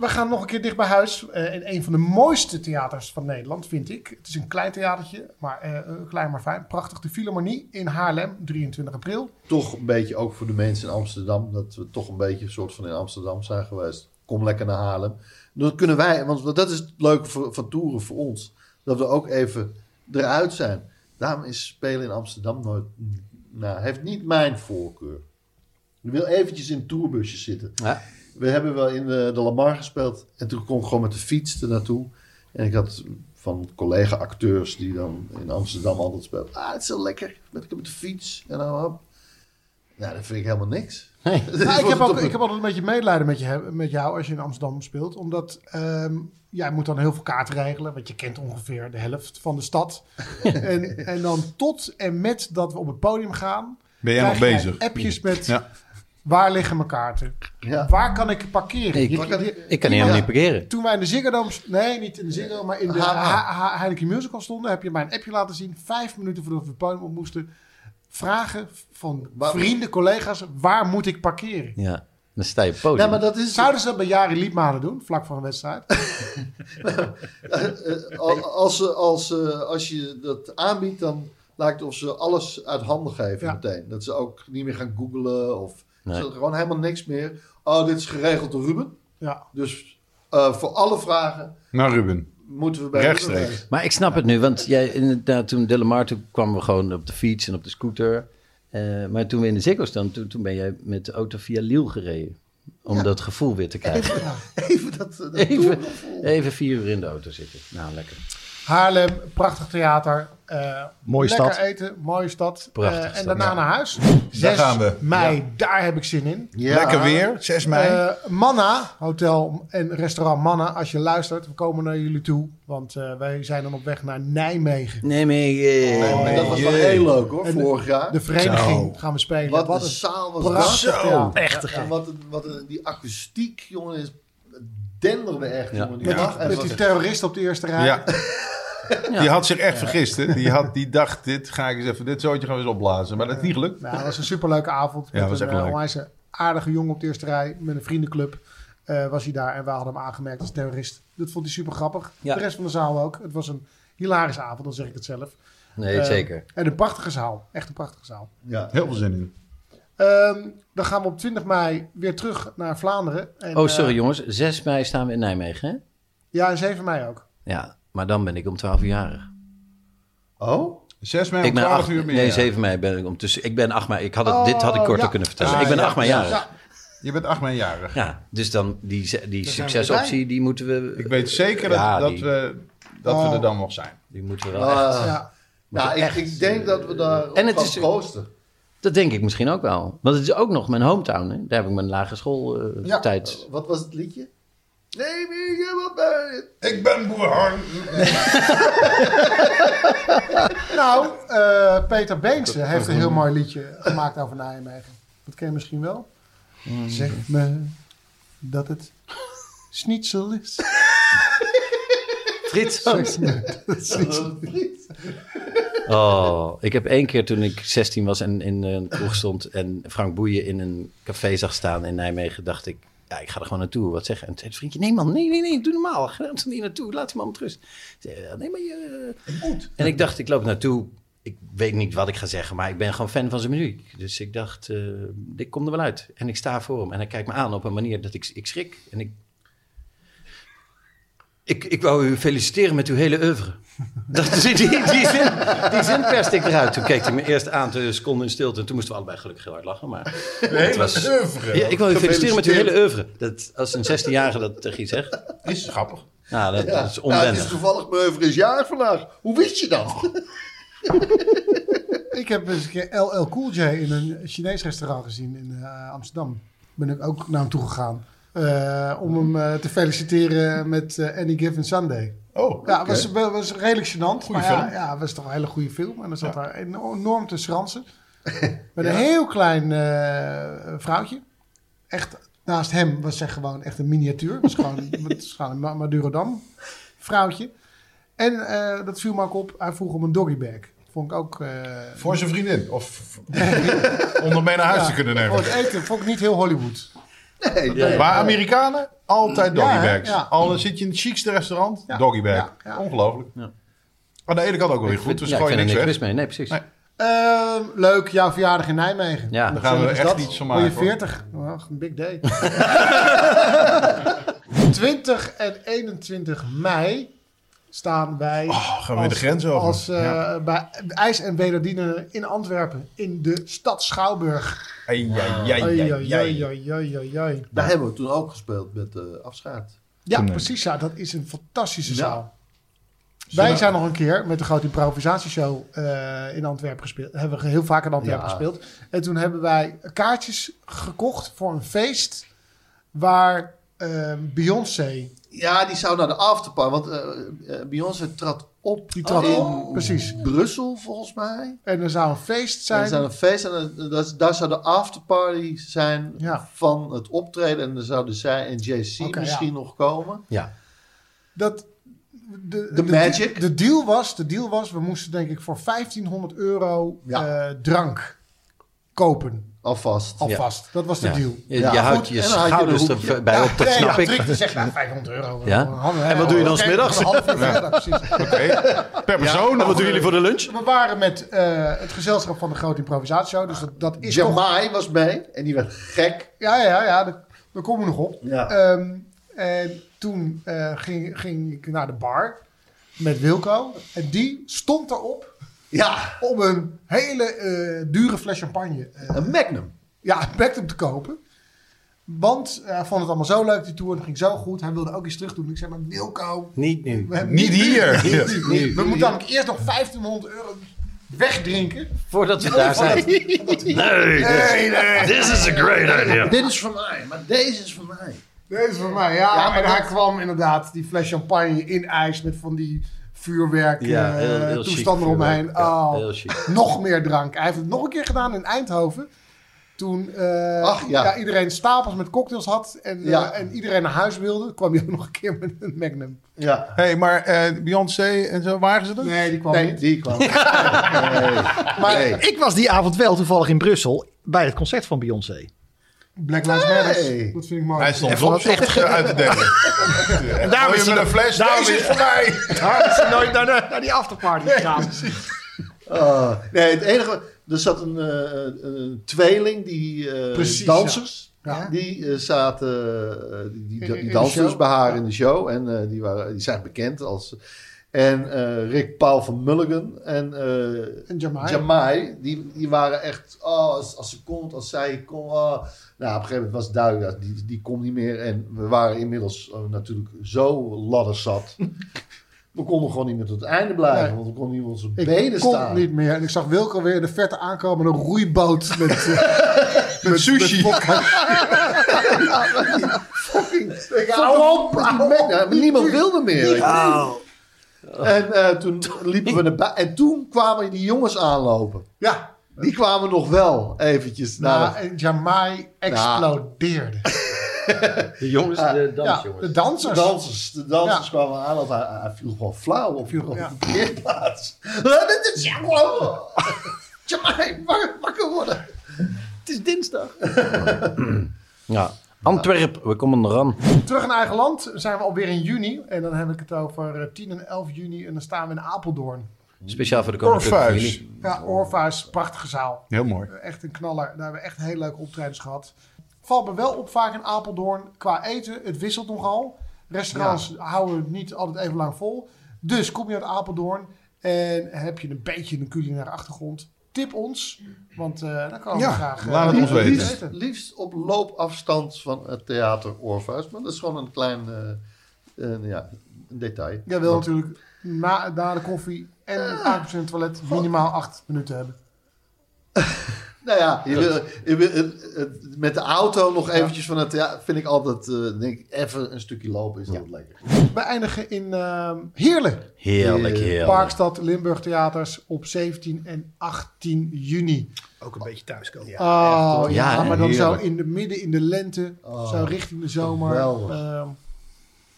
Speaker 4: We gaan nog een keer dicht bij huis. eh, in een van de mooiste theaters van Nederland, vind ik. Het is een klein theatertje, maar eh, eh, klein maar fijn. Prachtig. De Philharmonie in Haarlem, 23 april.
Speaker 3: Toch een beetje ook voor de mensen in Amsterdam. Dat we toch een beetje een soort van in Amsterdam zijn geweest. Kom lekker naar Haarlem. Dan kunnen wij, want dat is het leuke voor- van toeren voor ons. Dat we ook even eruit zijn. Daarom is spelen in Amsterdam nooit. Nou, heeft niet mijn voorkeur. Ik wil eventjes in een tourbusje zitten.
Speaker 5: Ja.
Speaker 3: We hebben wel in eh, de, de Lamar gespeeld. En toen kon ik gewoon met de fiets er naartoe. En ik had van collega-acteurs die dan in Amsterdam altijd speelden. Ah, het is zo lekker. Met, ik met de fiets. En dan hop. Nou, dat vind ik helemaal niks. Dus
Speaker 4: Nou, ik,
Speaker 3: was
Speaker 4: heb
Speaker 3: het
Speaker 4: ook,
Speaker 3: op-
Speaker 4: ik heb altijd een beetje medelijden met, je, heb- met jou als je in Amsterdam speelt. Omdat ehm, jij moet dan heel veel kaarten regelen. Want je kent ongeveer de helft van de stad. en, en dan tot en met dat we op het podium gaan...
Speaker 6: Ben jij
Speaker 4: krijg
Speaker 6: nog
Speaker 4: jij
Speaker 6: bezig?
Speaker 4: appjes met
Speaker 6: Ja.
Speaker 4: waar liggen mijn kaarten?
Speaker 3: Ja.
Speaker 4: Waar kan ik parkeren?
Speaker 5: Ik-
Speaker 4: Je- je-
Speaker 5: Ik kan helemaal
Speaker 4: Ja.
Speaker 5: niet parkeren. Ah.
Speaker 4: Toen wij in de Ziggo Dome... st- Nee, niet in de Ziggo, maar in de
Speaker 3: Ha- ha.
Speaker 4: Ha- Ha- Heineken Musical stonden... heb je mij een appje laten zien. Vijf minuten voordat we het podium op moesten... Vragen van
Speaker 3: Waar-
Speaker 4: vrienden, collega's, waar moet ik parkeren?
Speaker 5: Ja, dan sta je op het podium.
Speaker 3: Ja, maar dat is...
Speaker 4: Zouden ze dat bij Jari Liedmanen doen, vlak voor een wedstrijd?
Speaker 3: eh, al- als, ze- als, eh, als je dat aanbiedt, dan lijkt het of ze alles uit handen geven
Speaker 4: Ja.
Speaker 3: meteen. Dat ze ook niet meer gaan googlen of...
Speaker 5: Nee.
Speaker 3: Ze- gewoon helemaal niks meer. Oh, dit is geregeld door Ruben.
Speaker 4: Ja.
Speaker 3: Dus eh, voor alle vragen
Speaker 6: Naar Nou, Ruben.
Speaker 3: moeten we bij
Speaker 6: Rechtstreeks.
Speaker 3: Ruben wezen.
Speaker 5: Maar ik snap het nu, want jij, inderdaad, toen Delamar, toen kwamen we gewoon op de fiets en op de scooter. Eh, maar toen we in de Ziggo stonden, toen, toen ben jij met de auto via Liel gereden. Om dat gevoel weer te krijgen.
Speaker 4: Even dat, dat
Speaker 5: Even,
Speaker 4: toergevoel.
Speaker 5: even vier uur in de auto zitten. Nou, lekker.
Speaker 4: Haarlem, prachtig theater. eh,
Speaker 9: Mooie
Speaker 4: lekker
Speaker 9: stad.
Speaker 4: eten, mooie stad.
Speaker 5: Prachtige
Speaker 4: Eh, en
Speaker 5: stad,
Speaker 4: daarna
Speaker 5: ja.
Speaker 4: naar huis. 6
Speaker 10: gaan we.
Speaker 4: mei, daar heb ik zin in.
Speaker 3: Ja.
Speaker 10: Lekker weer, 6 mei.
Speaker 4: Eh, Manna, hotel en restaurant Manna, als je luistert, we komen naar jullie toe. Want eh, wij zijn dan op weg naar Nijmegen.
Speaker 5: Nee, eh, mee.
Speaker 3: Oh, dat was wel heel leuk hoor, vorig jaar.
Speaker 4: De vereniging gaan we spelen.
Speaker 3: wat, een zaal was dat.
Speaker 4: prachtig theater.
Speaker 3: Echt en wat, een- wat een- die akoestiek, jongen, is denderde echt.
Speaker 5: Ja.
Speaker 3: Jongen, die
Speaker 4: Met, die-
Speaker 3: dag. En
Speaker 4: met
Speaker 3: het
Speaker 4: die
Speaker 3: was-
Speaker 4: terrorist op de eerste rij.
Speaker 6: Ja. Die had zich echt vergist. Hè? Die, had, die dacht, dit ga ik eens even, dit zootje gaan we eens opblazen. Maar dat is niet gelukt.
Speaker 4: Nou, dat was een superleuke avond.
Speaker 6: Ja,
Speaker 4: met
Speaker 6: was
Speaker 4: een
Speaker 6: echt leuk.
Speaker 4: eh, onwijs aardige jongen op de eerste rij. Met een vriendenclub eh, was hij daar. En wij hadden hem aangemerkt als terrorist. Dat vond hij super grappig.
Speaker 5: Ja.
Speaker 4: De rest van de zaal ook. Het was een hilarische avond, dan zeg ik het zelf.
Speaker 5: Nee,
Speaker 4: Eh,
Speaker 5: zeker.
Speaker 4: En een prachtige zaal. Echt een prachtige zaal.
Speaker 3: ja.
Speaker 6: Heel veel zin in.
Speaker 4: Ehm, dan gaan we op 20 mei weer terug naar Vlaanderen. En,
Speaker 5: Oh, sorry
Speaker 4: eh,
Speaker 5: jongens. 6 mei staan we in Nijmegen, hè?
Speaker 4: ja, en 7 mei ook.
Speaker 5: Ja, maar dan ben ik om 12 uur jarig.
Speaker 3: Oh?
Speaker 6: 6 mei om
Speaker 5: Ik ben
Speaker 6: 12
Speaker 5: acht-
Speaker 6: uur meer.
Speaker 5: Nee, 7 mei ben ik om tussen. Ik ben 8 mei. Ik had het, dit had ik
Speaker 4: Oh,
Speaker 5: korter
Speaker 4: ja.
Speaker 5: kunnen vertellen. Dus
Speaker 6: Ah,
Speaker 5: ik ben
Speaker 6: ja,
Speaker 5: 8 mei
Speaker 6: ja.
Speaker 5: jarig. Ja.
Speaker 6: Je bent 8 mei jarig.
Speaker 5: dus dan die, ze- die
Speaker 4: zijn we
Speaker 5: succesoptie, die moeten we.
Speaker 6: Ik weet zeker dat,
Speaker 5: Ja,
Speaker 6: dat,
Speaker 5: die-
Speaker 6: we, dat
Speaker 4: Oh.
Speaker 6: we er dan nog zijn.
Speaker 5: Die moeten we wel echt-
Speaker 3: Ah.
Speaker 4: Ja.
Speaker 3: nou, ik, ik denk dat we daar
Speaker 5: En het
Speaker 3: op
Speaker 5: is-
Speaker 3: gaan proosten.
Speaker 5: Dat denk ik misschien ook wel. Want het is ook nog mijn hometown. Hè? Daar heb ik mijn lagere school eh,
Speaker 3: Ja.
Speaker 5: tijd.
Speaker 3: Wat was het liedje? Nee, me helemaal bij.
Speaker 10: Ik ben boer Harm.
Speaker 4: Nou, eh, Peter Beense heeft een heel mooi liedje gemaakt over Nijmegen. Dat ken je misschien wel. Zeg me dat het schnitzel is.
Speaker 5: Frits.
Speaker 4: Zeg me dat het schnitzel is.
Speaker 5: Oh, ik heb één keer toen ik 16 was en in eh, een kroeg stond en Frank Boeien in een café zag staan in Nijmegen, dacht ik, ja, ik ga er gewoon naartoe. Wat zeg? En toen zei het vriendje, nee man, nee, nee, nee, doe normaal. Ga er niet naartoe, laat die man met rust. Ik zei, eh, Nee, maar je... En ik dacht, ik loop naartoe. Ik weet niet wat ik ga zeggen, maar ik ben gewoon fan van zijn muziek. Dus ik dacht, eh, ik kom er wel uit. En ik sta voor hem en hij kijkt me aan op een manier dat ik, ik schrik. En ik... Ik, ik wou u feliciteren met uw hele oeuvre. Dat, die, die, die, zin, die zin perste ik eruit. Toen keek hij me eerst aan, toen seconde in stilte. En toen moesten we allebei gelukkig heel hard lachen. Maar het was, ja, ik wil je feliciteren met uw hele oeuvre. Dat, als een 16-jarige dat tegen je zegt.
Speaker 6: Is grappig.
Speaker 5: Nou, dat, dat is
Speaker 3: Nou, het is
Speaker 5: onwennig.
Speaker 3: toevallig mijn oeuvre is jaar vandaag. Hoe wist je dat?
Speaker 4: Ik heb eens een keer LL Cool J in een Chinees restaurant gezien in eh, Amsterdam. Ben ik ook naar hem toe gegaan. eh, om hem eh, te feliciteren met eh, Any Given Sunday.
Speaker 10: Oh,
Speaker 4: Ja, was, wel- was redelijk gênant.
Speaker 10: film.
Speaker 4: maar Ja, ja, was toch een hele goede film. En dan zat daar eno- enorm te schransen. Met een heel klein eh, vrouwtje. Echt, naast hem was zij gewoon echt een miniatuur. Was gewoon, was gewoon een Ma- Madurodam vrouwtje. En eh, dat viel me ook op. Hij vroeg om een doggybag. Vond ik ook... eh,
Speaker 10: voor zijn vriendin. Of om hem mee naar huis
Speaker 4: ja,
Speaker 10: te kunnen
Speaker 4: Voor
Speaker 10: nemen.
Speaker 4: het eten vond ik niet heel Hollywood.
Speaker 6: Maar Amerikanen, altijd doggybags.
Speaker 4: Ja, hè? Ja.
Speaker 6: Al dan zit je in het chicste restaurant,
Speaker 4: Ja.
Speaker 6: doggybag.
Speaker 4: Ja, ja.
Speaker 6: Ongelooflijk. Aan de ene kant ook wel weer goed, dus
Speaker 5: Ja, ik
Speaker 6: gooi
Speaker 5: vind er
Speaker 6: niks
Speaker 5: niks mis
Speaker 6: weg.
Speaker 5: mee. Nee, precies.
Speaker 6: Nee.
Speaker 4: Ehm, leuk, jouw verjaardag in Nijmegen.
Speaker 5: Ja.
Speaker 4: Hoe
Speaker 6: Daar gaan we
Speaker 4: gezellig is
Speaker 6: echt
Speaker 4: dat?
Speaker 6: iets van
Speaker 4: Word
Speaker 6: maken,
Speaker 4: je
Speaker 6: hoor.
Speaker 4: 40? Ach, een big day. 20 en 21 mei staan wij
Speaker 10: Oh, gaan we weer de grens over.
Speaker 4: als, eh, bij IJs en Beladienen in Antwerpen in de stad Schouwburg.
Speaker 10: Ai, ai, ai,
Speaker 4: Ai,
Speaker 10: ai,
Speaker 4: ai,
Speaker 10: ai.
Speaker 4: ai, ai, ai, ai, ai.
Speaker 3: Daar hebben we toen ook gespeeld met eh Afschaart.
Speaker 4: Ja,
Speaker 10: Toen, eh,
Speaker 4: precies. Ja, dat is een fantastische
Speaker 3: Ja.
Speaker 4: zaal. Wij zijn nog een keer met de grote improvisatieshow eh, in Antwerpen gespeeld. Hebben we heel vaak in Antwerpen
Speaker 3: Ja.
Speaker 4: gespeeld. En toen hebben wij kaartjes gekocht voor een feest waar eh, Beyoncé
Speaker 3: Ja, die zou naar de afterpar, want eh, eh, Beyoncé trad op. Die
Speaker 4: trad
Speaker 3: in
Speaker 4: op, precies.
Speaker 3: Brussel volgens mij.
Speaker 4: en er zou een feest
Speaker 3: En
Speaker 4: zijn.
Speaker 3: er zijn een feest en eh, dat is- daar zou de afterparty zijn
Speaker 4: Ja.
Speaker 3: van het optreden. En dan zouden zij en JC
Speaker 4: Oké,
Speaker 3: misschien
Speaker 4: ja.
Speaker 3: nog komen.
Speaker 5: Ja.
Speaker 4: Dat de,
Speaker 3: De magic.
Speaker 4: De, deal was, de deal was, we moesten denk ik voor 1500 euro
Speaker 3: Ja.
Speaker 4: eh, drank kopen.
Speaker 3: Alvast.
Speaker 4: Alvast. Dat was de
Speaker 5: Ja.
Speaker 4: deal.
Speaker 5: Je, je
Speaker 3: Ja,
Speaker 5: houdt
Speaker 3: goed,
Speaker 5: je
Speaker 3: en dan had je
Speaker 5: schouders
Speaker 3: een
Speaker 5: er bij op, dat
Speaker 4: nee,
Speaker 5: snap ik.
Speaker 4: Trick, die zegt nou 500 euro.
Speaker 5: Ja.
Speaker 4: en
Speaker 5: wat doe je dan
Speaker 4: smiddags?
Speaker 6: Per persoon.
Speaker 5: Wat doen jullie voor de lunch?
Speaker 4: We waren met eh, het gezelschap van de grote improvisatieshow. Dus dat, dat is toch...
Speaker 3: Jamai was mee en die werd gek.
Speaker 4: Ja, ja, ja. Daar, daar komen we nog op.
Speaker 3: Ja.
Speaker 4: Ehm, en toen eh, ging, ging ik naar de bar met Wilco. En die stond erop
Speaker 3: Ja,
Speaker 4: om een hele eh, dure fles champagne eh,
Speaker 3: een magnum.
Speaker 4: ja, een Magnum te kopen. Want eh, hij vond het allemaal zo leuk, die tour. Het ging zo goed. Hij wilde ook iets terug doen. Ik zei, maar Wilco...
Speaker 2: Niet nu.
Speaker 4: we hebben
Speaker 6: Niet hier.
Speaker 4: Niet
Speaker 6: Ja.
Speaker 4: nu.
Speaker 6: Niet
Speaker 4: we
Speaker 6: hier.
Speaker 4: moeten namelijk eerst nog 1500 euro wegdrinken.
Speaker 2: Voordat we daar zijn.
Speaker 4: Nee, nee.
Speaker 11: This is a great idea.
Speaker 4: Ah,
Speaker 3: Dit is van mij, maar deze is van mij.
Speaker 4: Deze van mij, ja. en hij kwam inderdaad die fles champagne in ijs met van die vuurwerk
Speaker 5: Ja,
Speaker 4: eh,
Speaker 5: heel- heel chic
Speaker 4: toestanden omheen.
Speaker 5: vuurwerk, ja.
Speaker 4: Oh,
Speaker 5: Heel chic.
Speaker 4: nog meer drank. Hij heeft het nog een keer gedaan in Eindhoven. Toen eh,
Speaker 3: Ach, ja.
Speaker 4: ja. iedereen stapels met cocktails had en, eh,
Speaker 3: Ja.
Speaker 4: en iedereen naar huis wilde, kwam hij ook nog een keer met een Magnum.
Speaker 3: Ja.
Speaker 6: hey, maar eh, Beyoncé en zo, waren ze er?
Speaker 4: Nee, die kwam niet.
Speaker 3: die kwam.
Speaker 7: Maar
Speaker 3: Nee.
Speaker 7: ik was die avond wel toevallig in Brussel bij het concert van Beyoncé.
Speaker 4: Black Lives Matter.
Speaker 3: Hey.
Speaker 4: Dat vind ik mooi.
Speaker 6: Hij stond soms op echt uit te denken. en
Speaker 7: daarom
Speaker 6: daarom
Speaker 7: is
Speaker 6: is
Speaker 7: hij
Speaker 6: met een fles. Deze is voor mij.
Speaker 4: Ah,
Speaker 7: Daar is ze nooit naar de, naar die afterparty gegaan.
Speaker 3: Ah,
Speaker 4: Oh.
Speaker 3: nee, het enige... Er zat een, eh, een tweeling, die eh,
Speaker 4: Precies,
Speaker 3: dansers.
Speaker 4: Ja.
Speaker 3: Die eh, zaten, eh, die, die, die
Speaker 4: in de
Speaker 3: dansten dus
Speaker 4: show.
Speaker 3: bij haar
Speaker 4: Ja.
Speaker 3: in de show. En eh, die, waren, die zijn bekend als... En eh, Rick Paul van Mulligan en eh,
Speaker 4: En Jamai.
Speaker 3: Jamai, die, die waren echt, oh, als, als ze komt, als zij komt. oh. Nou, op een gegeven moment was het duidelijk, ja, die, die komt niet meer. En we waren inmiddels eh, natuurlijk zo ladderzat. we konden gewoon niet meer tot het einde blijven,
Speaker 4: Nee.
Speaker 3: want we konden niet meer op onze
Speaker 4: Ik
Speaker 3: benen
Speaker 4: kon
Speaker 3: staan.
Speaker 4: niet meer. En ik zag Wilco weer in de verte aankomen. Een roeiboot met, eh, met met
Speaker 6: sushi.
Speaker 4: vodka.
Speaker 3: Ik hou op!
Speaker 4: nou,
Speaker 3: Ja, maar niemand wilde meer. weet je. En eh, toen liepen we naar bui- En toen kwamen die jongens aanlopen.
Speaker 4: ja,
Speaker 3: Die kwamen nog wel eventjes naar...
Speaker 4: nou, en Jamai explodeerde.
Speaker 5: De jongens, de
Speaker 4: ja,
Speaker 5: dansjongens.
Speaker 4: de dansers.
Speaker 3: De dansers, de dansers
Speaker 4: Ja.
Speaker 3: kwamen aan of hij, hij viel gewoon flauw op,
Speaker 4: Viel-
Speaker 3: op
Speaker 4: ja.
Speaker 3: de parkeerplaats. Dit is ja gewoon. Jamai, wakker, wakker worden.
Speaker 5: Het is dinsdag. ja. Antwerp, we komen eraan.
Speaker 4: Terug naar eigen land zijn we alweer in juni. En dan heb ik het over eh, 10 en 11 juni. En dan staan we in Apeldoorn. Dus,
Speaker 5: Speciaal voor de koninklijke
Speaker 6: Orpheus.
Speaker 5: familie.
Speaker 4: Ja, Orpheus, prachtige zaal.
Speaker 6: Heel mooi.
Speaker 4: Echt een knaller. Daar hebben we echt hele leuke optredens gehad. Valt me wel op vaak in Apeldoorn qua eten. Het wisselt nogal. Restaurants houden het niet altijd even lang vol. Dus kom je uit Apeldoorn en heb je een beetje een culinaire achtergrond. Tip ons, want eh dan komen
Speaker 6: Ja,
Speaker 4: we graag. eh,
Speaker 6: laat het ons
Speaker 4: eten.
Speaker 6: weten.
Speaker 3: Liefst, liefst op loopafstand van het theater Orpheus. Maar dat is gewoon een klein eh, eh, ja, een detail.
Speaker 4: Jij wil natuurlijk na, na de koffie en het aankomst toilet minimaal acht minuten hebben.
Speaker 3: Nou ja, je wil, je wil- het- het- met de auto nog eventjes van het theater... vind ik altijd, eh, denk ik, even een stukje lopen is altijd lekker.
Speaker 4: We eindigen in ehm, Heerlen.
Speaker 5: Heerlijk, heerlijk.
Speaker 4: Parkstad Limburg Theaters op 17 en 18 juni.
Speaker 7: Ook een beetje thuiskomen.
Speaker 4: Oh, ja,
Speaker 5: Ja, hè?
Speaker 4: maar dan zo
Speaker 5: Heerlijk.
Speaker 4: in de midden in de lente, zo richting de zomer.
Speaker 3: geweldig.
Speaker 4: Ehm,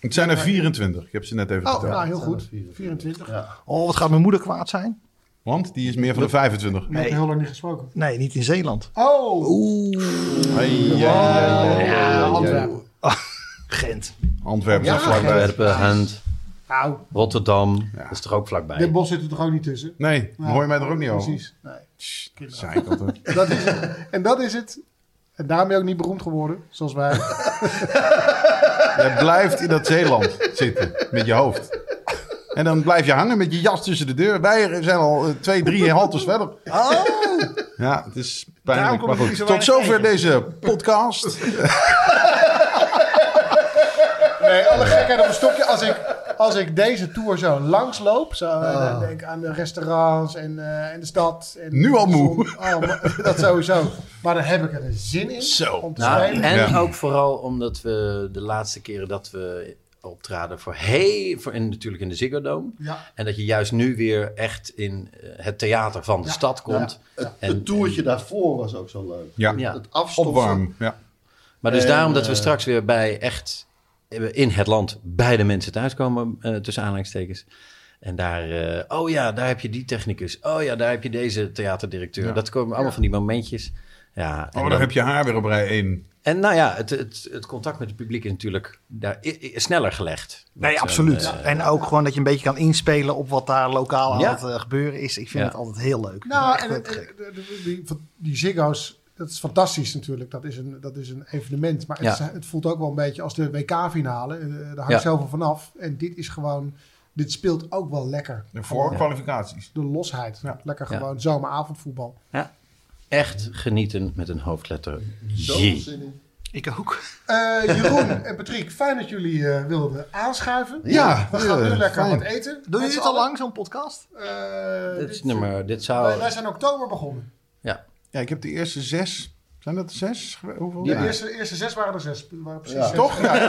Speaker 6: Het zijn er 24. Ik heb ze net even
Speaker 4: oh,
Speaker 6: geteld.
Speaker 4: nou heel goed. 24.
Speaker 3: Ja.
Speaker 7: Oh, wat gaat mijn moeder kwaad zijn?
Speaker 6: Want die is meer van de 25.
Speaker 4: Ik heb heel lang niet gesproken.
Speaker 7: Nee, niet in Zeeland.
Speaker 4: Oh,
Speaker 6: Hey, ja, ja, ja.
Speaker 4: ja, Antwerpen.
Speaker 7: Gent.
Speaker 6: Antwerpen is vlakbij.
Speaker 5: Antwerpen, Gent,
Speaker 4: Nou,
Speaker 5: Rotterdam. Dat is toch ook vlakbij.
Speaker 4: dit bos zit er toch ook niet tussen?
Speaker 6: Nee, hoor je mij er ook niet over.
Speaker 4: Precies. Nee.
Speaker 6: Zei ik altijd.
Speaker 4: Dat is het. En dat is het. En daarom ben je ook niet beroemd geworden, zoals wij.
Speaker 6: Jij blijft in dat Zeeland zitten met je hoofd. En dan blijf je hangen met je jas tussen de deur. Wij zijn al eh, twee, drie haltes verder.
Speaker 4: Oh,
Speaker 6: Ja, het is
Speaker 7: Daarom
Speaker 6: pijnlijk.
Speaker 7: kom
Speaker 6: Maar
Speaker 7: ik
Speaker 6: goed,
Speaker 7: niet zo
Speaker 6: tot
Speaker 7: weinig
Speaker 6: zover deze podcast.
Speaker 4: Nee, alle gekheid op een stokje. Als ik, als ik deze tour zo langsloop, zo,
Speaker 6: Ah.
Speaker 4: eh, dan denk ik aan de restaurants en, eh, en de stad. En
Speaker 6: Nu al
Speaker 4: de
Speaker 6: moe.
Speaker 4: zon. Oh, maar- dat sowieso. Maar dan heb ik er een zin in
Speaker 6: Zo.
Speaker 4: om te
Speaker 5: Nou,
Speaker 4: spelen.
Speaker 5: en
Speaker 6: Ja.
Speaker 5: ook vooral omdat we de laatste keren dat we optraden voor heel... Voor, en natuurlijk in de Ziggo Dome.
Speaker 4: Ja.
Speaker 5: En dat je juist nu weer echt in eh, het theater van de
Speaker 4: Ja.
Speaker 5: stad komt.
Speaker 3: Het,
Speaker 5: En-
Speaker 3: het toertje daarvoor was ook zo leuk.
Speaker 6: Ja.
Speaker 5: Ja.
Speaker 3: Het afstoffen.
Speaker 6: Opwarm. Ja.
Speaker 5: Maar dus
Speaker 3: En,
Speaker 5: daarom dat we
Speaker 3: eh,
Speaker 5: straks weer bij echt eh, in het land bij de mensen thuiskomen, eh, tussen aanhalingstekens. En daar, eh, oh ja, daar heb je die technicus. Oh ja, daar heb je deze theaterdirecteur.
Speaker 6: Ja.
Speaker 5: Dat komen allemaal van die momentjes. Ja, en,
Speaker 6: Oh, dan
Speaker 5: dan-
Speaker 6: heb je haar weer op rij 1.
Speaker 5: en nou ja, het, het, het contact met het publiek is natuurlijk daar i- i- sneller gelegd. Met
Speaker 7: Nee,
Speaker 5: zo'n,
Speaker 7: absoluut.
Speaker 5: eh,
Speaker 7: en ook gewoon dat je een beetje kan inspelen op wat daar lokaal aan
Speaker 5: Ja.
Speaker 7: het eh, gebeuren is. Ik vind
Speaker 5: Ja.
Speaker 7: het altijd heel leuk.
Speaker 4: Nou,
Speaker 7: Echt
Speaker 4: en,
Speaker 7: heel te
Speaker 4: en-
Speaker 7: gek.
Speaker 4: en- die, die- die Ziggo's, dat is fantastisch natuurlijk. Dat is een, dat is een evenement. Maar het,
Speaker 5: Ja.
Speaker 4: is- het voelt ook wel een beetje als de WK-finale. Eh, Daar hangt
Speaker 5: Ja.
Speaker 4: zoveel vanaf. En dit is gewoon, dit speelt ook wel lekker.
Speaker 6: De voorkwalificaties.
Speaker 4: De losheid. Lekker
Speaker 5: Ja.
Speaker 4: gewoon zomeravondvoetbal.
Speaker 5: eh, ja, echt genieten met een hoofdletter
Speaker 3: Zo
Speaker 5: J.
Speaker 3: zin in.
Speaker 1: Ik ook.
Speaker 12: Eh, Jeroen en Patrick, fijn dat jullie eh, wilden aanschuiven.
Speaker 6: Ja,
Speaker 12: we gaan nu
Speaker 6: eh,
Speaker 12: lekker
Speaker 6: fijn.
Speaker 12: wat eten.
Speaker 1: Doe
Speaker 12: Met
Speaker 1: je dit
Speaker 12: z'n
Speaker 1: al
Speaker 12: allen.
Speaker 1: lang, zo'n podcast?
Speaker 12: Eh,
Speaker 5: Dit
Speaker 12: dit-
Speaker 5: is nummer, dit
Speaker 12: wij,
Speaker 5: zou...
Speaker 12: wij zijn in oktober begonnen.
Speaker 5: Ja.
Speaker 6: Ja, ik heb de eerste zes. Zijn dat zes? gewe- Hoeveel?
Speaker 12: De
Speaker 6: Ja.
Speaker 12: eerste, eerste zes waren er zes. Waren precies zes.
Speaker 6: Toch? Ja.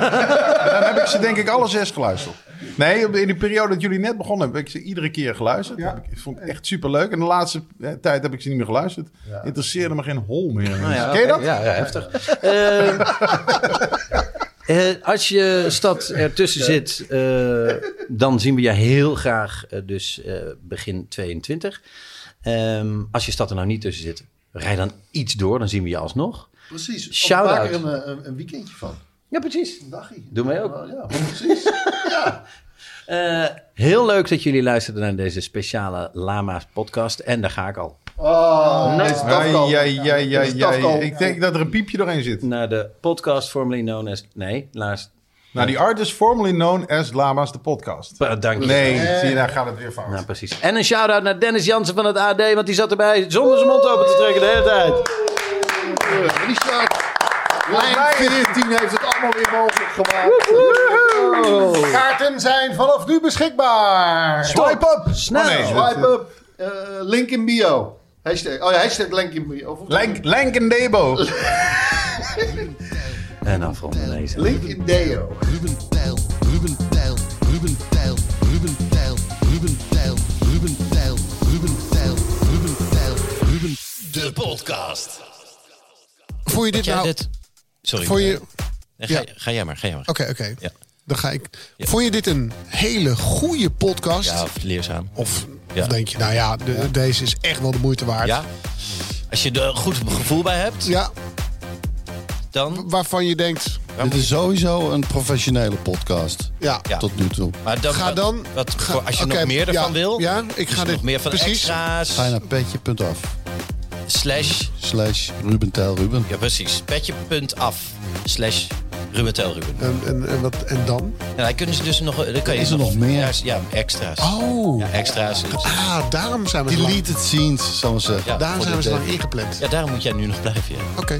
Speaker 6: Dan heb ik ze denk ik alle zes geluisterd. Nee, op de- in die periode dat jullie net begonnen, heb ik ze iedere keer geluisterd.
Speaker 12: Ja.
Speaker 6: Heb Ik ik vond het echt superleuk. En de laatste eh, tijd heb ik ze niet meer geluisterd. Interesseerde me geen hol meer.
Speaker 5: Nou ja,
Speaker 6: Ken je dat?
Speaker 5: oké. Ja, ja, heftig. Eh, eh, als je stad ertussen zit, eh, dan zien we je heel graag eh, dus eh, begin 22. Ehm, als je stad er nou niet tussen zit, rij dan iets door, dan zien we je alsnog.
Speaker 3: Precies. Of
Speaker 5: Shout-out.
Speaker 3: maak er een, eh, een, een weekendje van.
Speaker 5: Ja, precies.
Speaker 3: Een dagje.
Speaker 5: Doen wij ook.
Speaker 3: Oh, Ja, precies.
Speaker 5: Eh, heel leuk dat jullie luisterden naar deze speciale Lama's podcast. En daar ga ik al.
Speaker 3: Oh, nee. deze
Speaker 6: Ja,
Speaker 3: tafkal.
Speaker 6: ja, ja, ja,
Speaker 3: Deze
Speaker 6: ja,
Speaker 3: tafkal.
Speaker 6: Ik denk dat er een piepje doorheen zit.
Speaker 5: Naar de podcast formerly known as... Nee, laatst.
Speaker 6: Nou, die artist formerly known as Lama's de podcast.
Speaker 5: Eh, Dank je.
Speaker 6: Nee, zie je, daar gaat het weer fout.
Speaker 5: Nou, precies. En een shout-out naar Dennis Jansen van het AD, want die zat erbij zonder zijn mond open te trekken de hele tijd.
Speaker 3: Richard, lijn 14 heeft het allemaal weer mogelijk gemaakt.
Speaker 12: Kaarten zijn vanaf nu beschikbaar.
Speaker 3: Swipe up.
Speaker 5: Snel.
Speaker 6: Oh, nee.
Speaker 3: Swipe up. Eh, link in bio. Hashtag, oh ja, hashtag link in bio. Of-
Speaker 6: Lenk, Lenk en Debo.
Speaker 5: En afronden deze.
Speaker 3: Link in deo.
Speaker 13: Ruben Tijl, Ruben Tijl, Ruben Tijl, Ruben Tijl, Ruben Tijl, Ruben Tijl, Ruben Tijl, Ruben Tijl, Ruben. De podcast.
Speaker 4: Voel je dit
Speaker 14: Jij
Speaker 4: nou...
Speaker 14: dit? Sorry.
Speaker 4: Vond je...
Speaker 14: Nee, ga,
Speaker 4: ja.
Speaker 14: ga jij maar, ga jij maar.
Speaker 4: Oké, oké.
Speaker 14: Ja.
Speaker 4: Dan ga ik...
Speaker 14: Ja.
Speaker 4: Vond je dit een hele goede podcast?
Speaker 14: Ja, of leerzaam.
Speaker 4: Of,
Speaker 14: Ja.
Speaker 4: of denk je, nou ja, de- deze is echt wel de moeite waard.
Speaker 14: Ja? Als je er goed gevoel bij hebt,
Speaker 4: Ja,
Speaker 14: dan...
Speaker 4: waarvan je denkt,
Speaker 13: Dit is sowieso een professionele podcast.
Speaker 4: ja,
Speaker 14: Ja.
Speaker 13: Tot nu toe.
Speaker 14: Maar dan,
Speaker 4: Ga dan-
Speaker 14: Wat,
Speaker 4: ga-
Speaker 14: voor- als je
Speaker 4: oké,
Speaker 14: nog meer ervan
Speaker 4: ja,
Speaker 14: wil.
Speaker 4: ja, ik
Speaker 14: dus
Speaker 4: ga dit-
Speaker 14: nog meer van
Speaker 4: precies.
Speaker 14: extra's.
Speaker 13: Ga je naar petje.af
Speaker 14: Slash.
Speaker 13: slash Ruben Tijl Ruben.
Speaker 14: Ja, precies. Petje.af. Slash Ruben Tel Ruben.
Speaker 4: En, en, en, wat, en dan?
Speaker 14: En dan kunnen ze dus nog... Dan kan je
Speaker 13: Is er nog meer?
Speaker 14: Ja, Ja, extra's.
Speaker 4: Oh,
Speaker 14: Ja, extra's.
Speaker 4: ah, daarom zijn we zo lang,
Speaker 13: Deleted scenes, zal ik maar zeggen.
Speaker 14: Ja.
Speaker 4: daarom
Speaker 14: voor
Speaker 4: zijn we
Speaker 14: dit,
Speaker 4: zo lang
Speaker 14: eh,
Speaker 4: ingepland.
Speaker 14: Ja, daarom moet jij nu nog blijven, ja.
Speaker 4: Oké.